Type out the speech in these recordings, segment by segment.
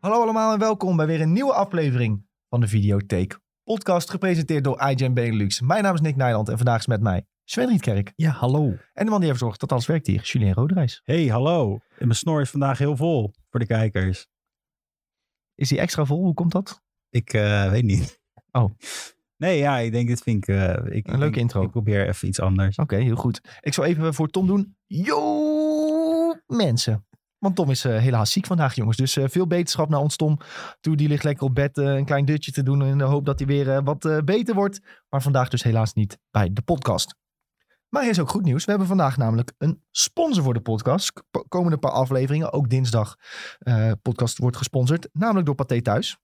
Hallo allemaal en welkom bij weer een nieuwe aflevering van de Videotheek. Podcast gepresenteerd door IGN Benelux. Mijn naam is Nick Nijland en vandaag is met mij Sven Rietkerk. Ja, hallo. En de man die ervoor zorgt dat alles werkt hier, Julien Roderijs. Hey, hallo. En mijn snor is vandaag heel vol voor de kijkers. Is die extra vol? Hoe komt dat? Ik eh, weet niet. Oh. Nee, ja, ik denk dit vind ik... eh, ik- ik leuke denk- intro. Ik probeer even iets anders. Oké, heel goed. Ik zal even voor Tom doen. Yo, mensen. Want Tom is eh, helaas ziek vandaag, jongens. Dus eh, veel beterschap naar ons, Tom. Toe, die ligt lekker op bed eh, een klein dutje te doen. In de hoop dat hij weer eh, wat eh, beter wordt. Maar vandaag dus helaas niet bij de podcast. Maar er is ook goed nieuws. We hebben vandaag namelijk een sponsor voor de podcast. K- komende paar afleveringen, ook dinsdag, eh, podcast wordt gesponsord. Namelijk door Pathé Thuis.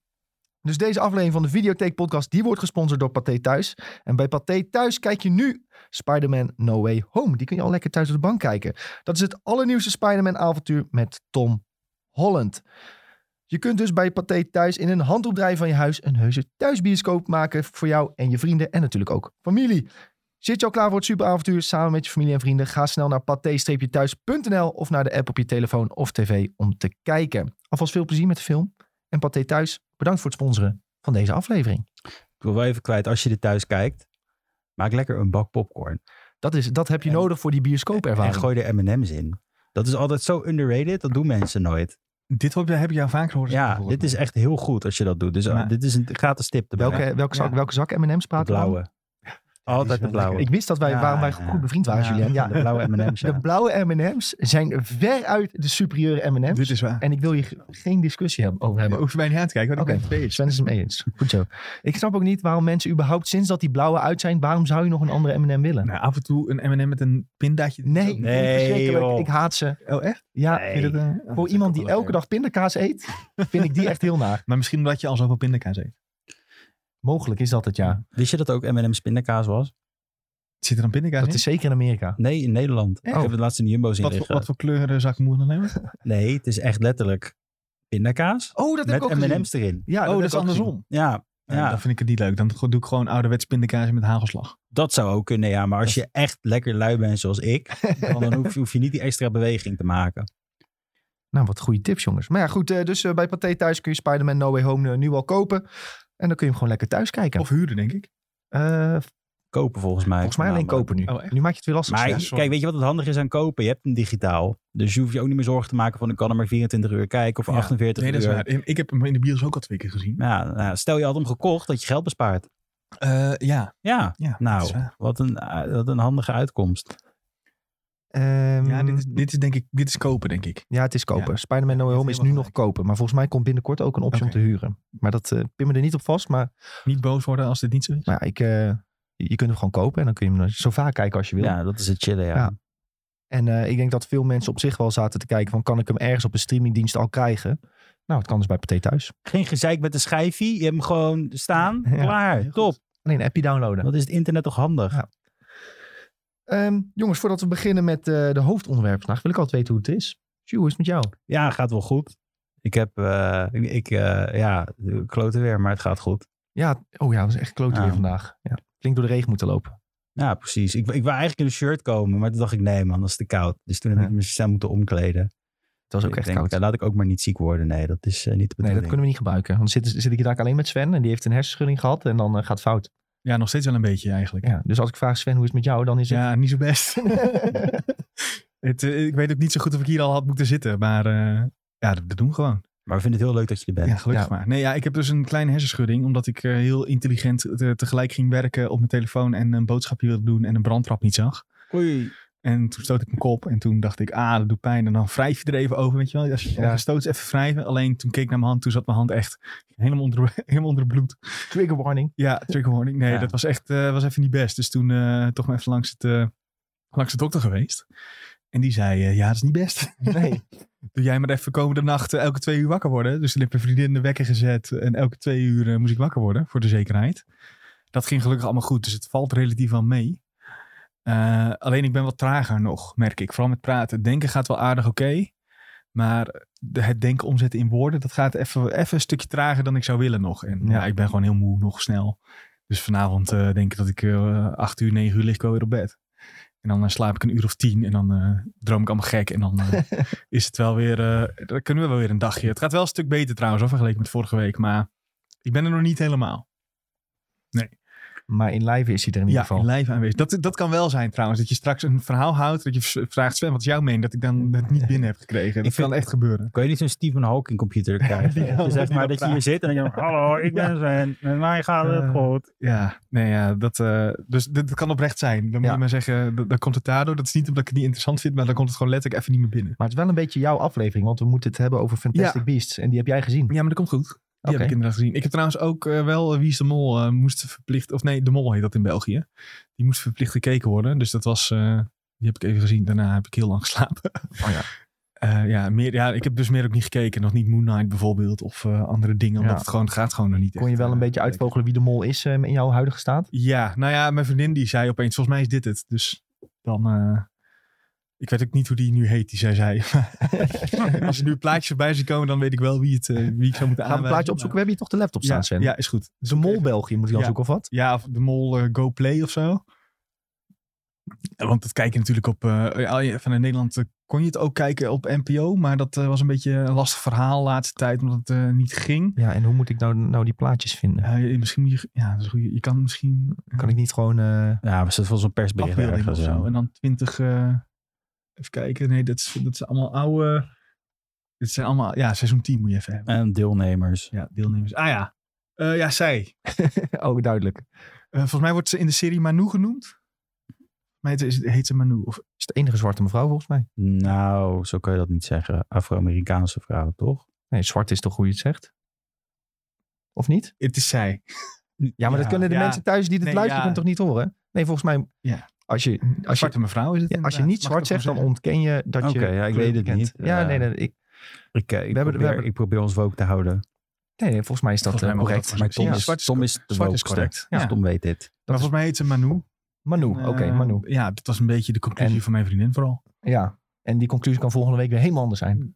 Dus deze aflevering van de Videotheek Podcast, die wordt gesponsord door Pathé Thuis. En bij Pathé Thuis kijk je nu Spider-Man No Way Home. Die kun je al lekker thuis op de bank kijken. Dat is het allernieuwste Spider-Man avontuur met Tom Holland. Je kunt dus bij Pathé thuis in een handopdraai van je huis een heuse thuisbioscoop maken voor jou en je vrienden en natuurlijk ook familie. Zit je al klaar voor het superavontuur samen met je familie en vrienden? Ga snel naar pathé-thuis.nl of naar de app op je telefoon of tv om te kijken. Alvast veel plezier met de film. En Pathé Thuis, bedankt voor het sponsoren van deze aflevering. Ik wil wel even kwijt, als je dit thuis kijkt, maak lekker een bak popcorn. Dat, is, dat heb je En- nodig voor die bioscoopervaring. En gooi er M&M's in. Dat is altijd zo underrated, dat doen mensen nooit. Dit heb je, heb je al vaak gehoord. Ja, dit is echt heel goed als je dat doet. Dus eh, Ja. dit is een gratis tip erbij. Welke, welke, zak, Ja. welke zak M&M's De praten we blauwe. Altijd de wel blauwe. dan? Ik wist dat wij, Ja, waarom wij ja. goed bevriend waren, Ja. Julien. Ja, De blauwe M&M's, ja. de blauwe M&M's zijn veruit de superieure M&M's. Dit is waar. En ik wil hier geen discussie hebben, over Maar hebben. hoef je mij niet aan te kijken, want Oké, ik ben het feest. Sven is het mee eens. Goed zo. Ik snap ook niet waarom mensen überhaupt, sinds dat die blauwe uit zijn, waarom zou je nog een andere M&M willen? Nou, af en toe een M&M met een pindaatje. Nee, ik vind het Nee, verschrikkelijk. joh. Ik haat ze. Oh, echt? Ja, Nee. Vind je dat, eh, oh, dat voor is iemand ook die wel elke lekker. dag pindakaas eet, vind ik die echt heel naar. Maar misschien omdat je al zoveel pindakaas eet. Mogelijk is dat het, ja. Wist je dat ook M&M's pindakaas was? Zit er dan pindakaas Dat is zeker in Amerika. Nee, in Nederland. Ik Echt? heb het laatst in de Jumbo's in in? Wat voor, liggen. wat voor kleuren zak moet je dan hebben? Nee, het is echt letterlijk pindakaas Oh, dat heb ik ook met gezien. M&M's erin. Ja, oh, dat heb is ik ook gezien. andersom. Ja, Ja. ja dan vind ik het niet leuk. Dan doe ik gewoon ouderwets pindakaas met hagelslag. dat zou ook kunnen, ja. Maar als je echt lekker lui bent zoals ik, dan dan hoef, je- hoef je niet die extra beweging te maken. Nou, wat goede tips, jongens. Maar ja, goed. eh, dus eh, bij Pathé thuis kun je Spider-Man No Way Home eh, nu al kopen. En dan kun je hem gewoon lekker thuis kijken. Of huren, denk ik. Eh, Kopen volgens mij. volgens mij alleen voornamelijk. kopen nu. Oh, echt? nu maak je het weer lastig. Maar ja. Ja, sorry. kijk, weet je wat het handig is aan kopen? Je hebt hem digitaal. Dus je hoeft je ook niet meer zorgen te maken van ik kan hem maar 24 uur kijken of Ja. 48 Nee, dat is uur. waar. Ik heb hem in de bios ook al twee keer gezien. Ja, nou, stel je had hem gekocht, dat je geld bespaart. Eh, ja. Ja, ja, dat nou, is waar. wat een, eh, wat een handige uitkomst. Ehm, Ja, dit is, dit is denk ik, dit is kopen, denk ik. ja, het is kopen. Ja. Spider-Man No Way Ja, Home is nu helemaal nog kopen. Maar volgens mij komt binnenkort ook een optie Oké. om te huren. Maar dat eh pin me er niet op vast. Maar, Niet boos worden als dit niet zo is. maar ja, ik, eh, je kunt hem gewoon kopen. En dan kun je hem eh, zo vaak kijken als je wil. Ja, dat is het chillen, ja. Ja. En eh, ik denk dat veel mensen op zich wel zaten te kijken van... kan ik hem ergens op een streamingdienst al krijgen? Nou, het kan dus bij Pathé thuis. Geen gezeik met een schijfje. Je hebt hem gewoon staan. Ja, klaar. heel goed. Top. Alleen een appje downloaden. Wat is het internet toch handig? Ja. Ehm, jongens, voordat we beginnen met eh, de hoofdonderwerp vandaag, wil ik altijd weten hoe het is. Sjoe, hoe is het met jou? Ja, gaat wel goed. Ik heb, eh, ik, ik, eh, ja, kloten weer, maar het gaat goed. Ja, oh ja, het was echt klote Ja. Nou. weer vandaag. Ja. Flink door de regen moeten lopen. Ja, precies. Ik, ik wou eigenlijk in een shirt komen, maar toen dacht ik, nee man, dat is te koud. Dus toen heb Ja. ik me snel moeten omkleden. Het was ook Ik echt denk, koud. ja, laat ik ook maar niet ziek worden. Nee, dat is eh, niet de nee, dat bedoeling. kunnen we niet gebruiken. Want dan zit, zit ik hier daar alleen met Sven en die heeft een hersenschudding gehad en dan eh, gaat het fout. Ja, nog steeds wel een beetje eigenlijk. Ja, dus als ik vraag Sven, hoe is het met jou? Dan is het... Ja, niet zo best. Het, eh, ik weet ook niet zo goed of ik hier al had moeten zitten, maar eh, ja, dat, dat doen we gewoon. Maar we vinden het heel leuk dat je er bent. Ja, gelukkig maar. Nee, ja, ik heb dus een kleine hersenschudding, omdat ik eh, heel intelligent eh, te- tegelijk ging werken op mijn telefoon en een boodschapje wilde doen en een brandtrap niet zag. Oei. En toen stoot ik mijn kop en toen dacht ik, ah, dat doet pijn. En dan wrijf je er even over, weet je wel. Als je Ja. ja. stoot, is even wrijven. Alleen toen keek ik naar mijn hand, toen zat mijn hand echt helemaal onder, helemaal onder bloed. Trigger warning. Ja, trigger warning. Nee, Ja. dat was echt eh, was even niet best. Dus toen eh, toch maar even langs, het, eh, langs de dokter geweest. En die zei, eh, ja, dat is niet best. Nee. Doe jij maar even komende nacht eh, elke twee uur wakker worden. Dus toen heb mijn vriendin de wekker gezet. En elke twee uur eh, moest ik wakker worden, voor de zekerheid. Dat ging gelukkig allemaal goed, dus het valt relatief wel mee. Eh, alleen ik ben wat trager nog, merk ik. Vooral met praten. Denken gaat wel aardig oké. maar de- het denken omzetten in woorden, dat gaat even, even een stukje trager dan ik zou willen nog. En ja, ik ben gewoon heel moe nog snel. Dus vanavond eh, denk ik dat ik eh acht uur, negen uur lig ik alweer op bed. En dan eh, slaap ik een uur of tien en dan eh, droom ik allemaal gek. En dan eh, is het wel weer, eh, dan kunnen we wel weer een dagje. Het gaat wel een stuk beter trouwens, hoor, vergeleken met vorige week. Maar ik ben er nog niet helemaal. Maar in live is hij er in ieder Ja, geval. in lijf aanwezig. Dat, dat kan wel zijn trouwens, dat je straks een verhaal houdt. Dat je v- vraagt Sven, wat is jouw mening? Dat ik dan het niet binnen heb gekregen. Dat Ik vind- kan echt gebeuren. Kan je niet zo'n Stephen Hawking computer krijgen? Die Het is echt die maar dan dat je hier zit en dan denk je, hallo, ik ben Sven. Met mij gaat het Eh, goed. Ja, nee, ja, dat, eh, dus dit, dit kan oprecht zijn. Dan moet Ja. je maar zeggen, dat- dan komt het daardoor. Dat is niet omdat ik het niet interessant vind, maar dan komt het gewoon letterlijk even niet meer binnen. Maar het is wel een beetje jouw aflevering, want we moeten het hebben over Fantastic Beasts. En die heb jij gezien. Ja, maar dat komt goed. Die Oké. heb ik inderdaad gezien. Ik heb trouwens ook eh, wel eh, Wie is de Mol eh, moest verplicht, of nee, de Mol heet dat in België. Die moest verplicht gekeken worden. Dus dat was, eh, die heb ik even gezien. Daarna heb ik heel lang geslapen. Oh ja. Eh, ja, meer, ja, ik heb dus meer ook niet gekeken. Nog niet Moon Knight bijvoorbeeld of eh, andere dingen. Omdat Ja. het gewoon het gaat gewoon nog niet. Kon je echt, wel een eh, beetje kijken. uitvogelen wie de mol is eh, in jouw huidige staat? Ja, nou ja, mijn vriendin die zei opeens, volgens mij is dit het. Dus dan, eh, ik weet ook niet hoe die nu heet, die zij zei. Als er nu plaatjes voorbij zien komen, dan weet ik wel wie, het, eh, wie ik zou moeten aanwijzen. Nou, Gaan we een plaatje opzoeken? We hebben hier toch de laptop Ja, staan, Sven? ja, is goed. De mol België moet je dan Ja. zoeken of wat? Ja, of de mol eh, Go Play of zo. Ja, Want dat kijk je natuurlijk op... eh, al je- vanuit Nederland eh, kon je het ook kijken op NPO. Maar dat eh, was een beetje een lastig verhaal de laatste tijd. Omdat het eh, niet ging. Ja, en hoe moet ik nou, nou die plaatjes vinden? Eh, je- misschien moet je... Ja, dat is een goeie. Je kan misschien Kan ik niet gewoon... eh, Ja, maar ze was zo'n persbericht afbeelding of ergens. zo. zo. En dan twintig... eh, even kijken. Nee, dat, is, dat zijn allemaal oude... Dit zijn allemaal... Ja, seizoen 10 moet je even hebben. En deelnemers. Ja, deelnemers. Ah ja. Eh, ja, zij. oh, duidelijk. Eh, volgens mij wordt ze in de serie Manu genoemd. Maar het is- heet ze Manu. Of Is de enige zwarte mevrouw volgens mij. Nou, zo kan je dat niet zeggen. Afro-Amerikaanse vrouw, toch? Nee, zwart is toch hoe je het zegt? Of niet? Het is zij. Ja, maar dat kunnen de ja. mensen thuis die dit Nee, luisteren ja. toch niet horen? Nee, volgens mij... Ja. Als je, als je, zwarte mevrouw is het. ja, als je inderdaad. niet zwart Mag ik dat zegt, dan gewoon ontken je dat je... Oké, ja, ik kleur weet het kent. niet. Ja, Eh, nee, nee, ik, Ik, eh, ik, hebben- we probeer, hebben- ik probeer ons woke te houden. nee, nee, volgens mij is dat Volgens mij eh, mag correct. dat volgens Maar precies. Tom Ja, is, zwart is- Tom is de zwart is woke. correct. Ja. Ja. Tom weet dit. Maar volgens mij heet ze Manu. Manu, En, oké, eh, Manu. Ja, dat was een beetje de conclusie En- van mijn vriendin vooral. Ja, en die conclusie kan volgende week weer helemaal anders zijn.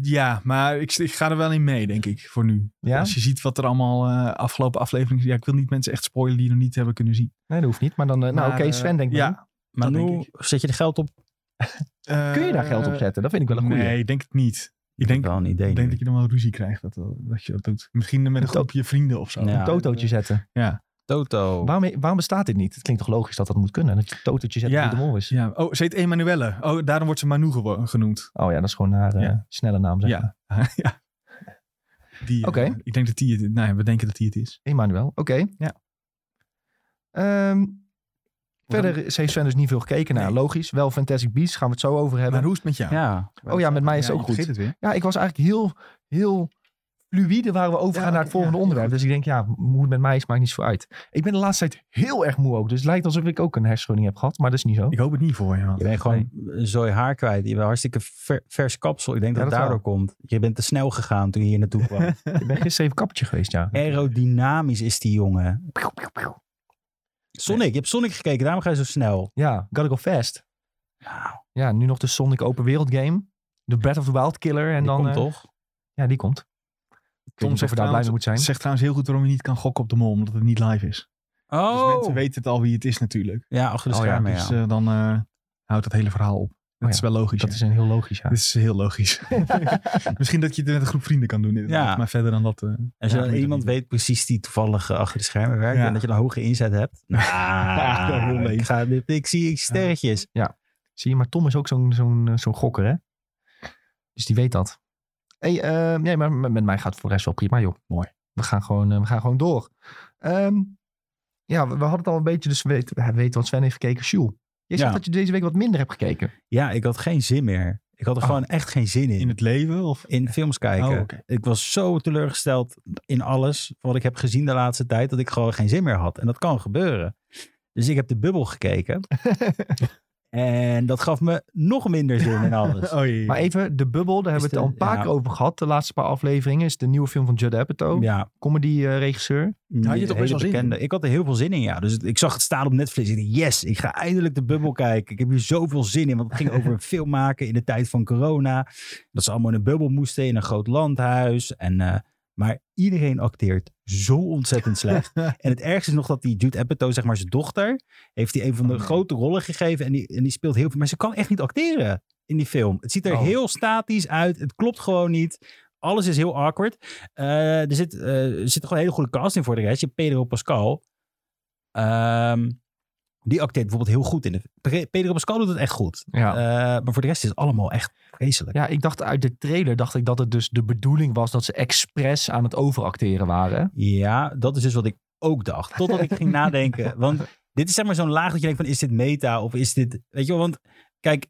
Ja, maar ik, ik ga er wel in mee, denk ik, voor nu. Ja? Als je ziet wat er allemaal eh, afgelopen afleveringen... Ja, ik wil niet mensen echt spoilen die nog niet hebben kunnen zien. Nee, dat hoeft niet. Maar dan, eh, nou Maar, oké, eh, Sven denkt, ja. ja. Maar Dat nu denk zet je er geld op? kun je daar Eh, geld op zetten? Dat vind ik wel een goede. Nee, ik denk het niet. Ik denk, wel een idee. ik denk nu. dat je dan wel ruzie krijgt dat, dat je dat doet. Misschien met een Tot- groepje vrienden of zo. Ja. Een eh, totootje zetten. Toto. Waarom, waarom bestaat dit niet? Het klinkt toch logisch dat dat moet kunnen? Dat je een totootje zetten Ja. wie de mol is. Ja. Oh, ze heet Emanuelle. Oh, daarom wordt ze Manu gewo- genoemd. Oh ja, dat is gewoon haar eh, Ja. snelle naam. Zeg. Ja. ja. Die, eh, Oké. Ik denk dat die het Nou ja, we denken dat die het is. Emmanuel, oké. Ja. Ehm, verder is- heeft Sven dus niet veel gekeken. Nou, Nee. logisch. Wel Fantastic Beasts, gaan we het zo over hebben. Maar hoe is het met jou? Ja. oh ja, met mij is Ja, het ook je goed. vergeet het weer. Ja, ik was eigenlijk heel, heel fluïde waar we overgaan Ja, naar het oké, volgende ja, onderwerp. Dus ik denk, ja, hoe het met mij is, maakt niet zo uit. Ik ben de laatste tijd heel erg moe ook. Dus het lijkt alsof ik ook een hersenschudding heb gehad. Maar dat is niet zo. Ik hoop het niet voor je. man. Je bent gewoon een zooi haar kwijt. Je bent hartstikke ver- vers kapsel. Ik denk Ja, dat het dat wel. daardoor komt. Je bent te snel gegaan toen je hier naartoe kwam. Ik ben gisteren even kappertje geweest, ja. Aerodynamisch is die jongen. Pieuw, pieuw, pieuw. Sonic, je hebt Sonic gekeken. Daarom ga je zo snel. Nou, Ja, gotta go fast. Ja, nu nog de Sonic open wereld game. De Breath of the Wild killer. En Die dan, komt eh, toch? Ja, die komt. Ik weet niet of we daar blij mee moet zijn. zegt trouwens heel goed waarom je niet kan gokken op de mol, omdat het niet live is. Dus mensen weten het al wie het is natuurlijk. Oh. ja, achter de Oh ja, Oh schermen. ja. Dus eh, dan eh, houdt dat hele verhaal op. ja, Dat is wel logisch. Dat hè? is een heel logisch, ja. Dus- Dat is heel logisch. Misschien dat je het met een groep vrienden kan doen. inderdaad, Ja. Maar verder dan dat. eh, Als je ja, dan weet ik iemand niet. weet precies die toevallig eh, achter de schermen werkt Ja. en dat je een hoge inzet hebt. Ja, dat is heel Nou, leuk. ik, ga, dit- ik zie ik sterretjes. Zie je, maar Tom is ook zo'n zo'n eh, zo'n gokker, hè? Dus die weet dat. Hey, eh, nee, maar met, met mij gaat het voor de rest wel prima, joh. Mooi. We gaan gewoon, eh, we gaan gewoon door. Ehm, ja, we, we hadden het al een beetje, dus we weten, we weten wat Sven heeft gekeken. Sjoel, jij zegt Ja. dat je deze week wat minder hebt gekeken. Ja, ik had geen zin meer. Ik had er Oh. gewoon echt geen zin in. In In, het leven? Of? films kijken. Oh, oké. Ik was zo teleurgesteld in alles wat ik heb gezien de laatste tijd, dat ik gewoon geen zin meer had. En dat kan gebeuren. Dus ik heb de bubbel gekeken. en dat gaf me nog minder zin in alles. Oh, jee. Maar even, De Bubbel, daar hebben we de- het al een paar ja. keer over gehad. De laatste paar afleveringen is de nieuwe film van Judd Apatow, Oh. eh, Ja, comedy-regisseur. Ja, had je toch best wel zin Ik had er heel veel zin in, ja. Dus het- ik zag het staan op Netflix. Ik dacht, yes, ik ga eindelijk de bubbel kijken. Ik heb hier zoveel zin in. Want het ging over een film maken in de tijd van corona. Dat ze allemaal in een bubbel moesten in een groot landhuis. En eh, Maar iedereen acteert zo ontzettend slecht. en het ergste is nog dat die Jude Apatow, zeg maar zijn dochter, heeft die een van de Oh, nee. grote rollen gegeven. En die, en die speelt heel veel. Maar ze kan echt niet acteren in die film. Het ziet er Oh. heel statisch uit. Het klopt gewoon niet. Alles is heel awkward. Eh, er, zit, eh, er zit gewoon een hele goede cast in voor de rest. Je hebt Pedro Pascal. Ehm, die acteert bijvoorbeeld heel goed in de. Pre- Pedro Pascal doet het echt goed. Ja. Eh, maar voor de rest is het allemaal echt vreselijk. ja, ik dacht uit de trailer dacht ik dat het dus de bedoeling was dat ze expres aan het overacteren waren. Ja, dat is dus wat ik ook dacht. Totdat ik ging nadenken. Want dit is zeg maar zo'n laag dat je denkt van is dit meta of is dit... Weet je wel, want kijk,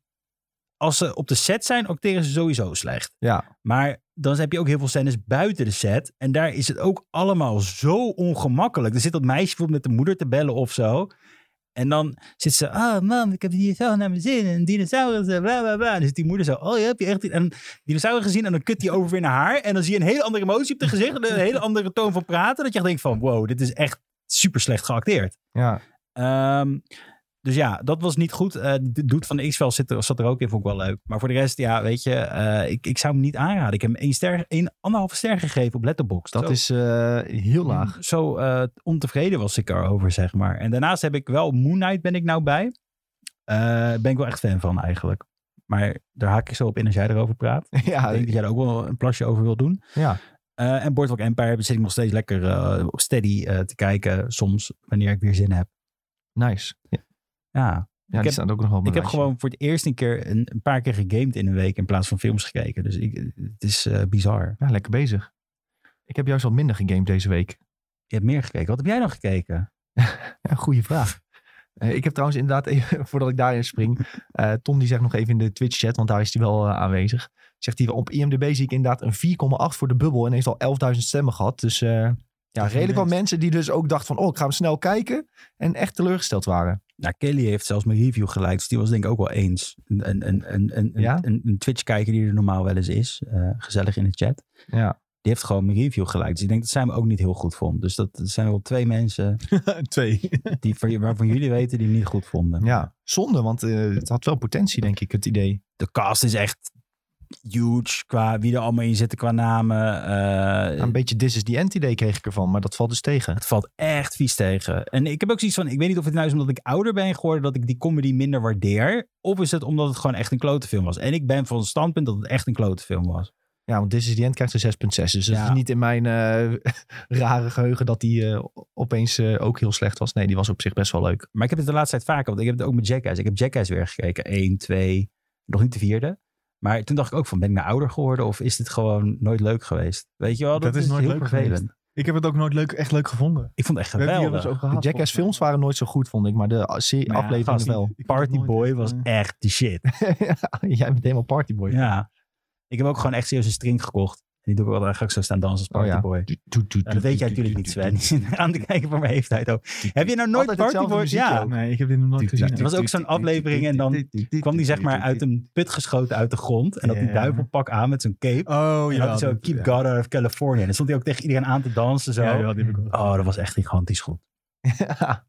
als ze op de set zijn, acteren ze sowieso slecht. Ja. Maar dan heb je ook heel veel scènes buiten de set. En daar is het ook allemaal zo ongemakkelijk. Er zit dat meisje bijvoorbeeld met de moeder te bellen of zo. En dan zit ze, ah man, ik heb hier zo naar mijn zin. En dinosaurus, en bla bla bla. En dan zit die moeder zo, oh je hebt je echt... die- En dinosaurus gezien en dan kut die over weer naar haar. En dan zie je een hele andere emotie op de gezicht. en Een hele andere toon van praten. Dat je echt denkt van, wow, dit is echt super slecht geacteerd. Ja. Ehm, dus ja, dat was niet goed. Eh, de doet van de X-Files zit er, zat er ook in, vond ik wel leuk. Maar voor de rest, ja, weet je, eh, ik, ik zou hem niet aanraden. Ik heb hem één ster, één, anderhalve ster gegeven op Letterboxd. Dat Zo- is eh, heel laag. Zo eh, ontevreden was ik erover, zeg maar. En daarnaast heb ik wel Moon Knight ben ik nou bij. Eh, ben ik wel echt fan van eigenlijk. Maar daar haak ik zo op in als jij erover praat. ja, ik denk dat jij er ook wel een plasje over wil doen. Ah, ja. Eh, en Boardwalk Empire zit ik nog steeds lekker eh, op steady eh, te kijken. Soms, wanneer ik weer zin heb. nice. Ja, Ja, die heb- staat ook nog wel op Ik mijn heb lijstje. gewoon voor het eerst een keer een, een paar keer gegamed in een week in plaats van films gekeken. Dus ik, het is eh, bizar. Ja, lekker bezig. Ik heb juist wat minder gegamed deze week. Je hebt meer gekeken. Wat heb jij dan gekeken? Ja, goede vraag. Eh, ik heb trouwens inderdaad, even, voordat ik daarin spring, eh, Tom die zegt nog even in de Twitch-chat, want daar is hij wel eh, aanwezig. Zegt hij, op IMDb zie ik inderdaad een 4,8 voor de bubbel en heeft al 11.000 stemmen gehad. Dus eh, ja, is redelijk wat best. mensen die dus ook dachten van, oh, ik ga hem snel kijken. En echt teleurgesteld waren. Nou, Kelly heeft zelfs mijn review gelijk. Dus die was denk ik ook wel eens. Een, een, een, een, een, Ja? een, een Twitch-kijker die er normaal wel eens is. eh, gezellig in de chat. Ja, Die heeft gewoon mijn review gelijk. Dus ik denk dat zij me ook niet heel goed vond. Dus dat, dat zijn wel twee mensen Twee. die, van- waarvan jullie weten die hem niet goed vonden. ja. zonde, want eh, het had wel potentie, denk ik, het idee. De cast is echt huge qua wie er allemaal in zitten qua namen. eh, Een beetje This is the End idee kreeg ik ervan, maar dat valt dus tegen. Het valt echt vies tegen. En ik heb ook zoiets van, ik weet niet of het nou is omdat ik ouder ben geworden, dat ik die comedy minder waardeer. Of is het omdat het gewoon echt een klote film was. En ik ben van het standpunt dat het echt een klote film was. Ja, want This is the End krijgt een 6,6. Dus dat Ja. is niet in mijn eh, rare geheugen dat die eh, opeens eh, ook heel slecht was. Nee, die was op zich best wel leuk. Maar ik heb het de laatste tijd vaker, want ik heb het ook met Jackass. Ik heb Jackass weer gekeken. Eén, twee, nog niet de vierde. Maar toen dacht ik ook van, ben ik nou ouder geworden of is dit gewoon nooit leuk geweest? Weet je wel, dat, is, nooit heel leuk vervelend. Ik heb het ook nooit leuk, echt leuk gevonden. Ik vond het echt We hebben hier wel eens geweldig. De over gehad. Jackass films waren nooit zo goed, vond ik. Maar de a- serie- Maar Nou ja, afleveringen gast, wel. Ik vond het Party nooit Boy echt, was eh, echt de shit. Jij bent helemaal partyboy. Ja. Ik heb ook gewoon echt serieus een string gekocht. En die doe ik wel, daar ga ik zo staan dansen als Oh ja. partyboy. Doet, doet, doet, Ja, Nou, dat weet jij doet, natuurlijk niet, doet, doet, Sven. Aan te kijken voor mijn leeftijd ook. doet, Heb je nou nooit Altijd hetzelfde Partyboy? muziekje Ja. ook. Nee, ik heb dit nog nooit doet, gezien. doet, Er was ook doet, zo'n doet, aflevering en dan doet, doet, doet, Kwam die zeg doet, maar doet, uit doet. een put geschoten uit de grond. En dat die Ja. duivelpak aan met zo'n cape. Oh en ja. had hij zo dat- Keep ja. God Out of California. En dan stond hij ook tegen iedereen aan te dansen. Zo. Ja, ja, die heb ik wel. Oh, dat was echt gigantisch goed. Ja.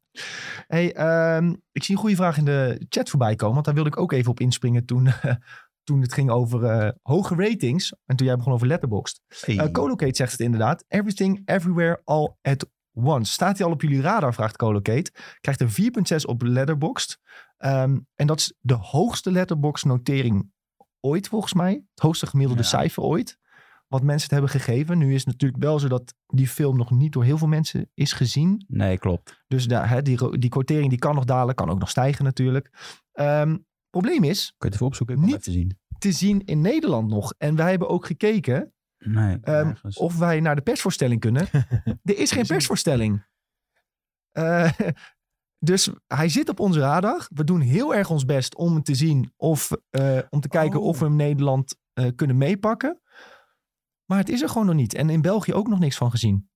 Hey, ehm, ik zie een goede vraag in de chat voorbij komen. Want daar wilde ik ook even op inspringen toen, eh, toen het ging over eh, hoge ratings. En toen jij begon over Letterboxd. Eh Colocate zegt het inderdaad. Everything, everywhere, all at once. Staat hij al op jullie radar, vraagt Colocate. Krijgt een 4.6 op Letterboxd. Ehm, en dat is de hoogste Letterboxd notering ooit, volgens mij. Het hoogste gemiddelde Ja. cijfer ooit. Wat mensen het hebben gegeven. Nu is het natuurlijk wel zo dat die film nog niet door heel veel mensen is gezien. Nee, klopt. Dus daar, hè, die, ro- die quotering die kan nog dalen, kan ook nog stijgen natuurlijk. Ehm probleem is, Kun je het even opzoeken? Ik kan Niet- het even zien. te zien in Nederland nog. En wij hebben ook gekeken Nee, ehm, ergens. of wij naar de persvoorstelling kunnen. er is geen persvoorstelling. Eh, dus hij zit op onze radar. We doen heel erg ons best om hem te zien. Of eh, om te kijken Oh. of we hem Nederland eh, kunnen meepakken. Maar het is er gewoon nog niet. En in België ook nog niks van gezien.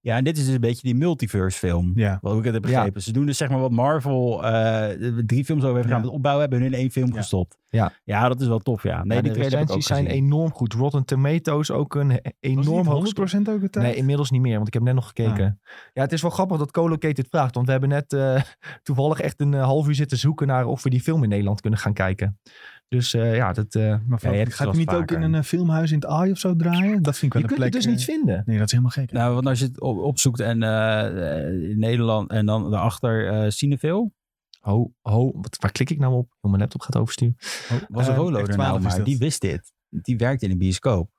Ja, en dit is dus een beetje die multiverse film. Ja. Wat ik het heb Ja. begrepen. Ze doen dus zeg maar wat Marvel eh, drie films over heeft gedaan Ja. met opbouwen. Hebben hun in één film Ja. gestopt. Ja. ja, dat is wel tof ja. Nee, Ja, die de trailer heb ik ook recensies zijn gezien. enorm goed. Rotten Tomatoes ook een he- Was die enorm hoog score. 100% ook het Nee, inmiddels niet meer, want ik heb net nog gekeken. Ja, het is wel grappig dat Colocate het vraagt. Want we hebben net eh, toevallig echt een eh, half uur zitten zoeken naar of we die film in Nederland kunnen gaan kijken. Dus eh, ja, dat, eh, Maar Ja, je hebt het gaat hij wel niet ook vaker. in een eh, filmhuis in het Aai of zo draaien? Dat vind je ik wel kunt een plek. het dus eh, niet vinden. Nee, dat is helemaal gek. Nou, want als je het op- opzoekt en eh, eh, in Nederland en dan daarachter eh Cineveel. Ho, ho, Oh, wat, waar klik ik nou op? Oh, mijn laptop gaat oversturen. Was een Eh, Rolo er F12 nou, is maar dat. die wist dit. Die werkt in een bioscoop.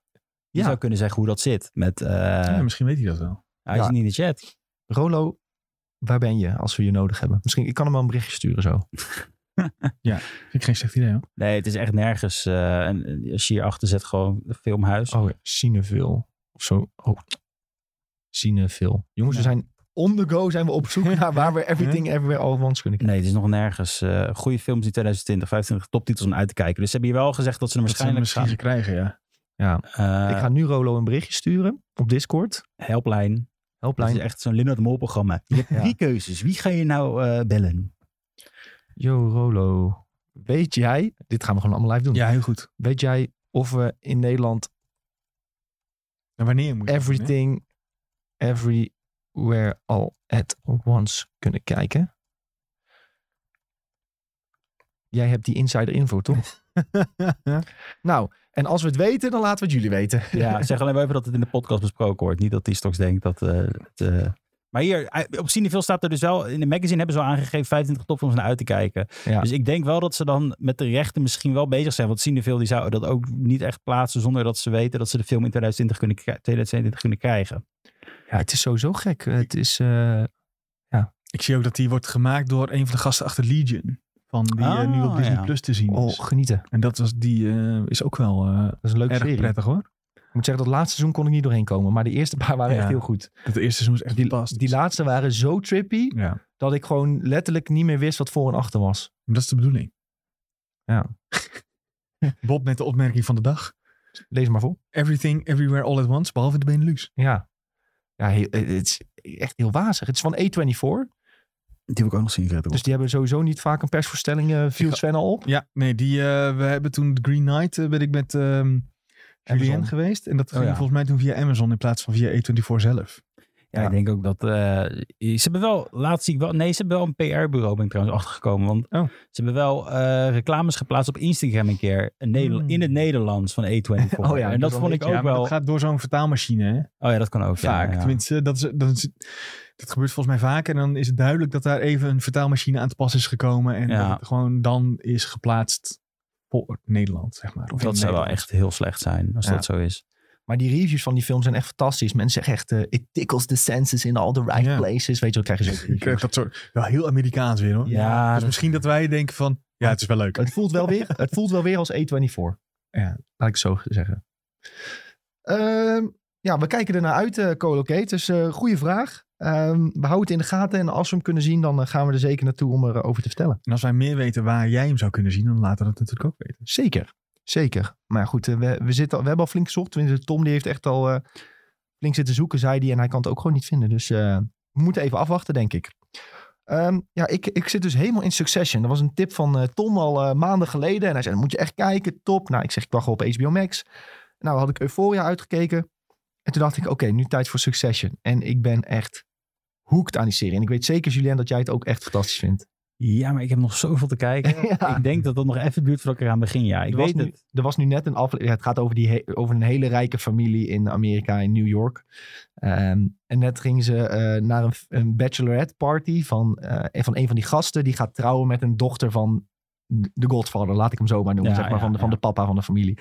Die Ja. zou kunnen zeggen hoe dat zit. Met, eh, Ja, misschien weet hij dat wel. Hij Ja. is niet in de chat. Rolo, waar ben je als we je nodig hebben? Misschien, ik kan hem wel een berichtje sturen zo. Vind ik geen slecht idee, hoor. Nee, het is echt nergens. eh, en en als je hierachter zet gewoon een filmhuis. Oh, ja. Cineville. Of zo. Oh. Cineville. Jongens, we Ja. zijn on the go zijn we op zoek naar waar we everything everywhere all at once kunnen kijken. Nee, het is nog nergens. eh, goede films in 2020, 25 toptitels om uit te kijken. Dus ze hebben hier wel gezegd dat ze er Dat ze hem waarschijnlijk misschien gaan. krijgen, ja. eh, ik ga nu Rolo een berichtje sturen op Discord. Helpline. Dat is Helpline. echt zo'n Leonard Mol programma. Je hebt Ja. drie keuzes. Wie ga je nou eh, bellen? Yo Rolo, weet jij, dit gaan we gewoon allemaal live doen. Ja, heel goed. Weet jij of we in Nederland En wanneer moet je dat doen, hè? everything, everywhere, all at once kunnen kijken. Jij hebt die insider info, toch? nou, en als we het weten, dan laten we het jullie weten. Ja, zeg alleen maar even dat het in de podcast besproken wordt. Niet dat die straks denkt dat eh, het... eh, Maar hier, eh, op Cineville staat er dus wel... In de magazine hebben ze al aangegeven 25 topfilms naar uit te kijken. Ja. Dus ik denk wel dat ze dan met de rechten misschien wel bezig zijn. Want Cineville die zou dat ook niet echt plaatsen... zonder dat ze weten dat ze de film in 2020 kunnen, kri- 2022 kunnen krijgen. Ja, het is sowieso gek. Het is, eh, Ik zie ook dat die wordt gemaakt door een van de gasten achter Legion. Van die eh, nu op Ah, Disney ja. Plus te zien oh, is. genieten. En dat was, die eh, is ook wel eh, Dat is een leuke erg serie. prettig hoor. Ik moet zeggen, dat laatste seizoen kon ik niet doorheen komen. Maar de eerste paar waren Ja. echt heel goed. Dat eerste seizoen is echt Die, fantastisch. die laatste waren zo trippy, ja. dat ik gewoon letterlijk niet meer wist wat voor en achter was. Maar Dat is de bedoeling. Ja. Bob met de opmerking van de dag. Lees maar voor. Everything, everywhere, all at once, behalve de Benelux. Ja, ja heel- eh, het is echt heel wazig. Het is van A24. Die wil ik ook nog zien, Gretel. Dus die hebben sowieso niet vaak een persvoorstelling, eh viel ga- Sven al op. Ja, nee, die, eh, we hebben toen de Green Knight, eh, ben ik met ehm Julien Amazon. geweest. En dat Oh, ging ja. volgens mij toen via Amazon in plaats van via A24 zelf. Ja, ik denk ook dat... eh, ze hebben wel... Laatst zie ik wel... Nee, ze hebben wel een PR-bureau, ben ik trouwens achtergekomen. Want Oh. ze hebben wel eh, reclames geplaatst op Instagram een keer. Een Nederla- Hmm. In het Nederlands van E24. Oh ja, en dat dan vond ik weet ook je, Ja, maar wel... dat gaat door zo'n vertaalmachine, hè? Oh ja, dat kan ook. ja, Vaak. ja. Tenminste, dat, is, dat, is- dat gebeurt volgens mij vaak. En dan is het duidelijk dat daar even een vertaalmachine aan te pas is gekomen. En Ja. dat het gewoon dan is geplaatst voor Nederland, zeg maar. Of in Dat zou wel Nederland. echt heel slecht zijn als Ja. dat zo is. Maar die reviews van die film zijn echt fantastisch. Mensen zeggen echt, eh, it tickles the senses in all the right Ja. places. Weet je, wat krijg je Ik eh, zo. krijg Dus dat soort, wel heel Amerikaans weer hoor. Ja, dus dat- misschien dat wij denken van, ja het is wel leuk. het, voelt wel weer, het voelt wel weer als A24. Ja. Laat ik het zo zeggen. Ehm, ja, we kijken ernaar uit, eh Co-locate. Dus eh goede vraag. Ehm, we houden het in de gaten. En als we hem kunnen zien, dan eh, gaan we er zeker naartoe om erover over te vertellen. En als wij meer weten waar jij hem zou kunnen zien, dan laten we dat natuurlijk ook weten. Zeker. Zeker. Maar goed, eh, we, we, zitten, al- we hebben al flink gezocht. Tenminste, Tom die heeft echt al eh, flink zitten zoeken, zei hij. En hij kan het ook gewoon niet vinden. Dus eh, we moeten even afwachten, denk ik. Ehm, ja, ik, ik zit dus helemaal in Succession. Dat was een tip van eh, Tom al eh, maanden geleden. En hij zei, "Dat moet je echt kijken, top. Nou, ik zeg, ik wacht wel op HBO Max. Nou, had ik Euphoria uitgekeken. En toen dacht ik, oké, nu tijd voor Succession. En ik ben echt hoekt aan die serie. En ik weet zeker, Julien, dat jij het ook echt fantastisch vindt. Ja, maar ik heb nog zoveel te kijken. Ja. Ik denk dat dat nog even duurt voordat ik eraan begin. Ja, ik er weet was nu, het. Er was nu net een aflevering. ja, Het gaat over, die he- over een hele rijke familie in Amerika, in New York. Ehm, en net gingen ze eh, naar een, een bachelorette party van, eh, een van een van die gasten. Die gaat trouwen met een dochter van de Godfather, laat ik hem zo maar noemen. Ja, zeg maar, ja, van, de, van ja. de papa van de familie.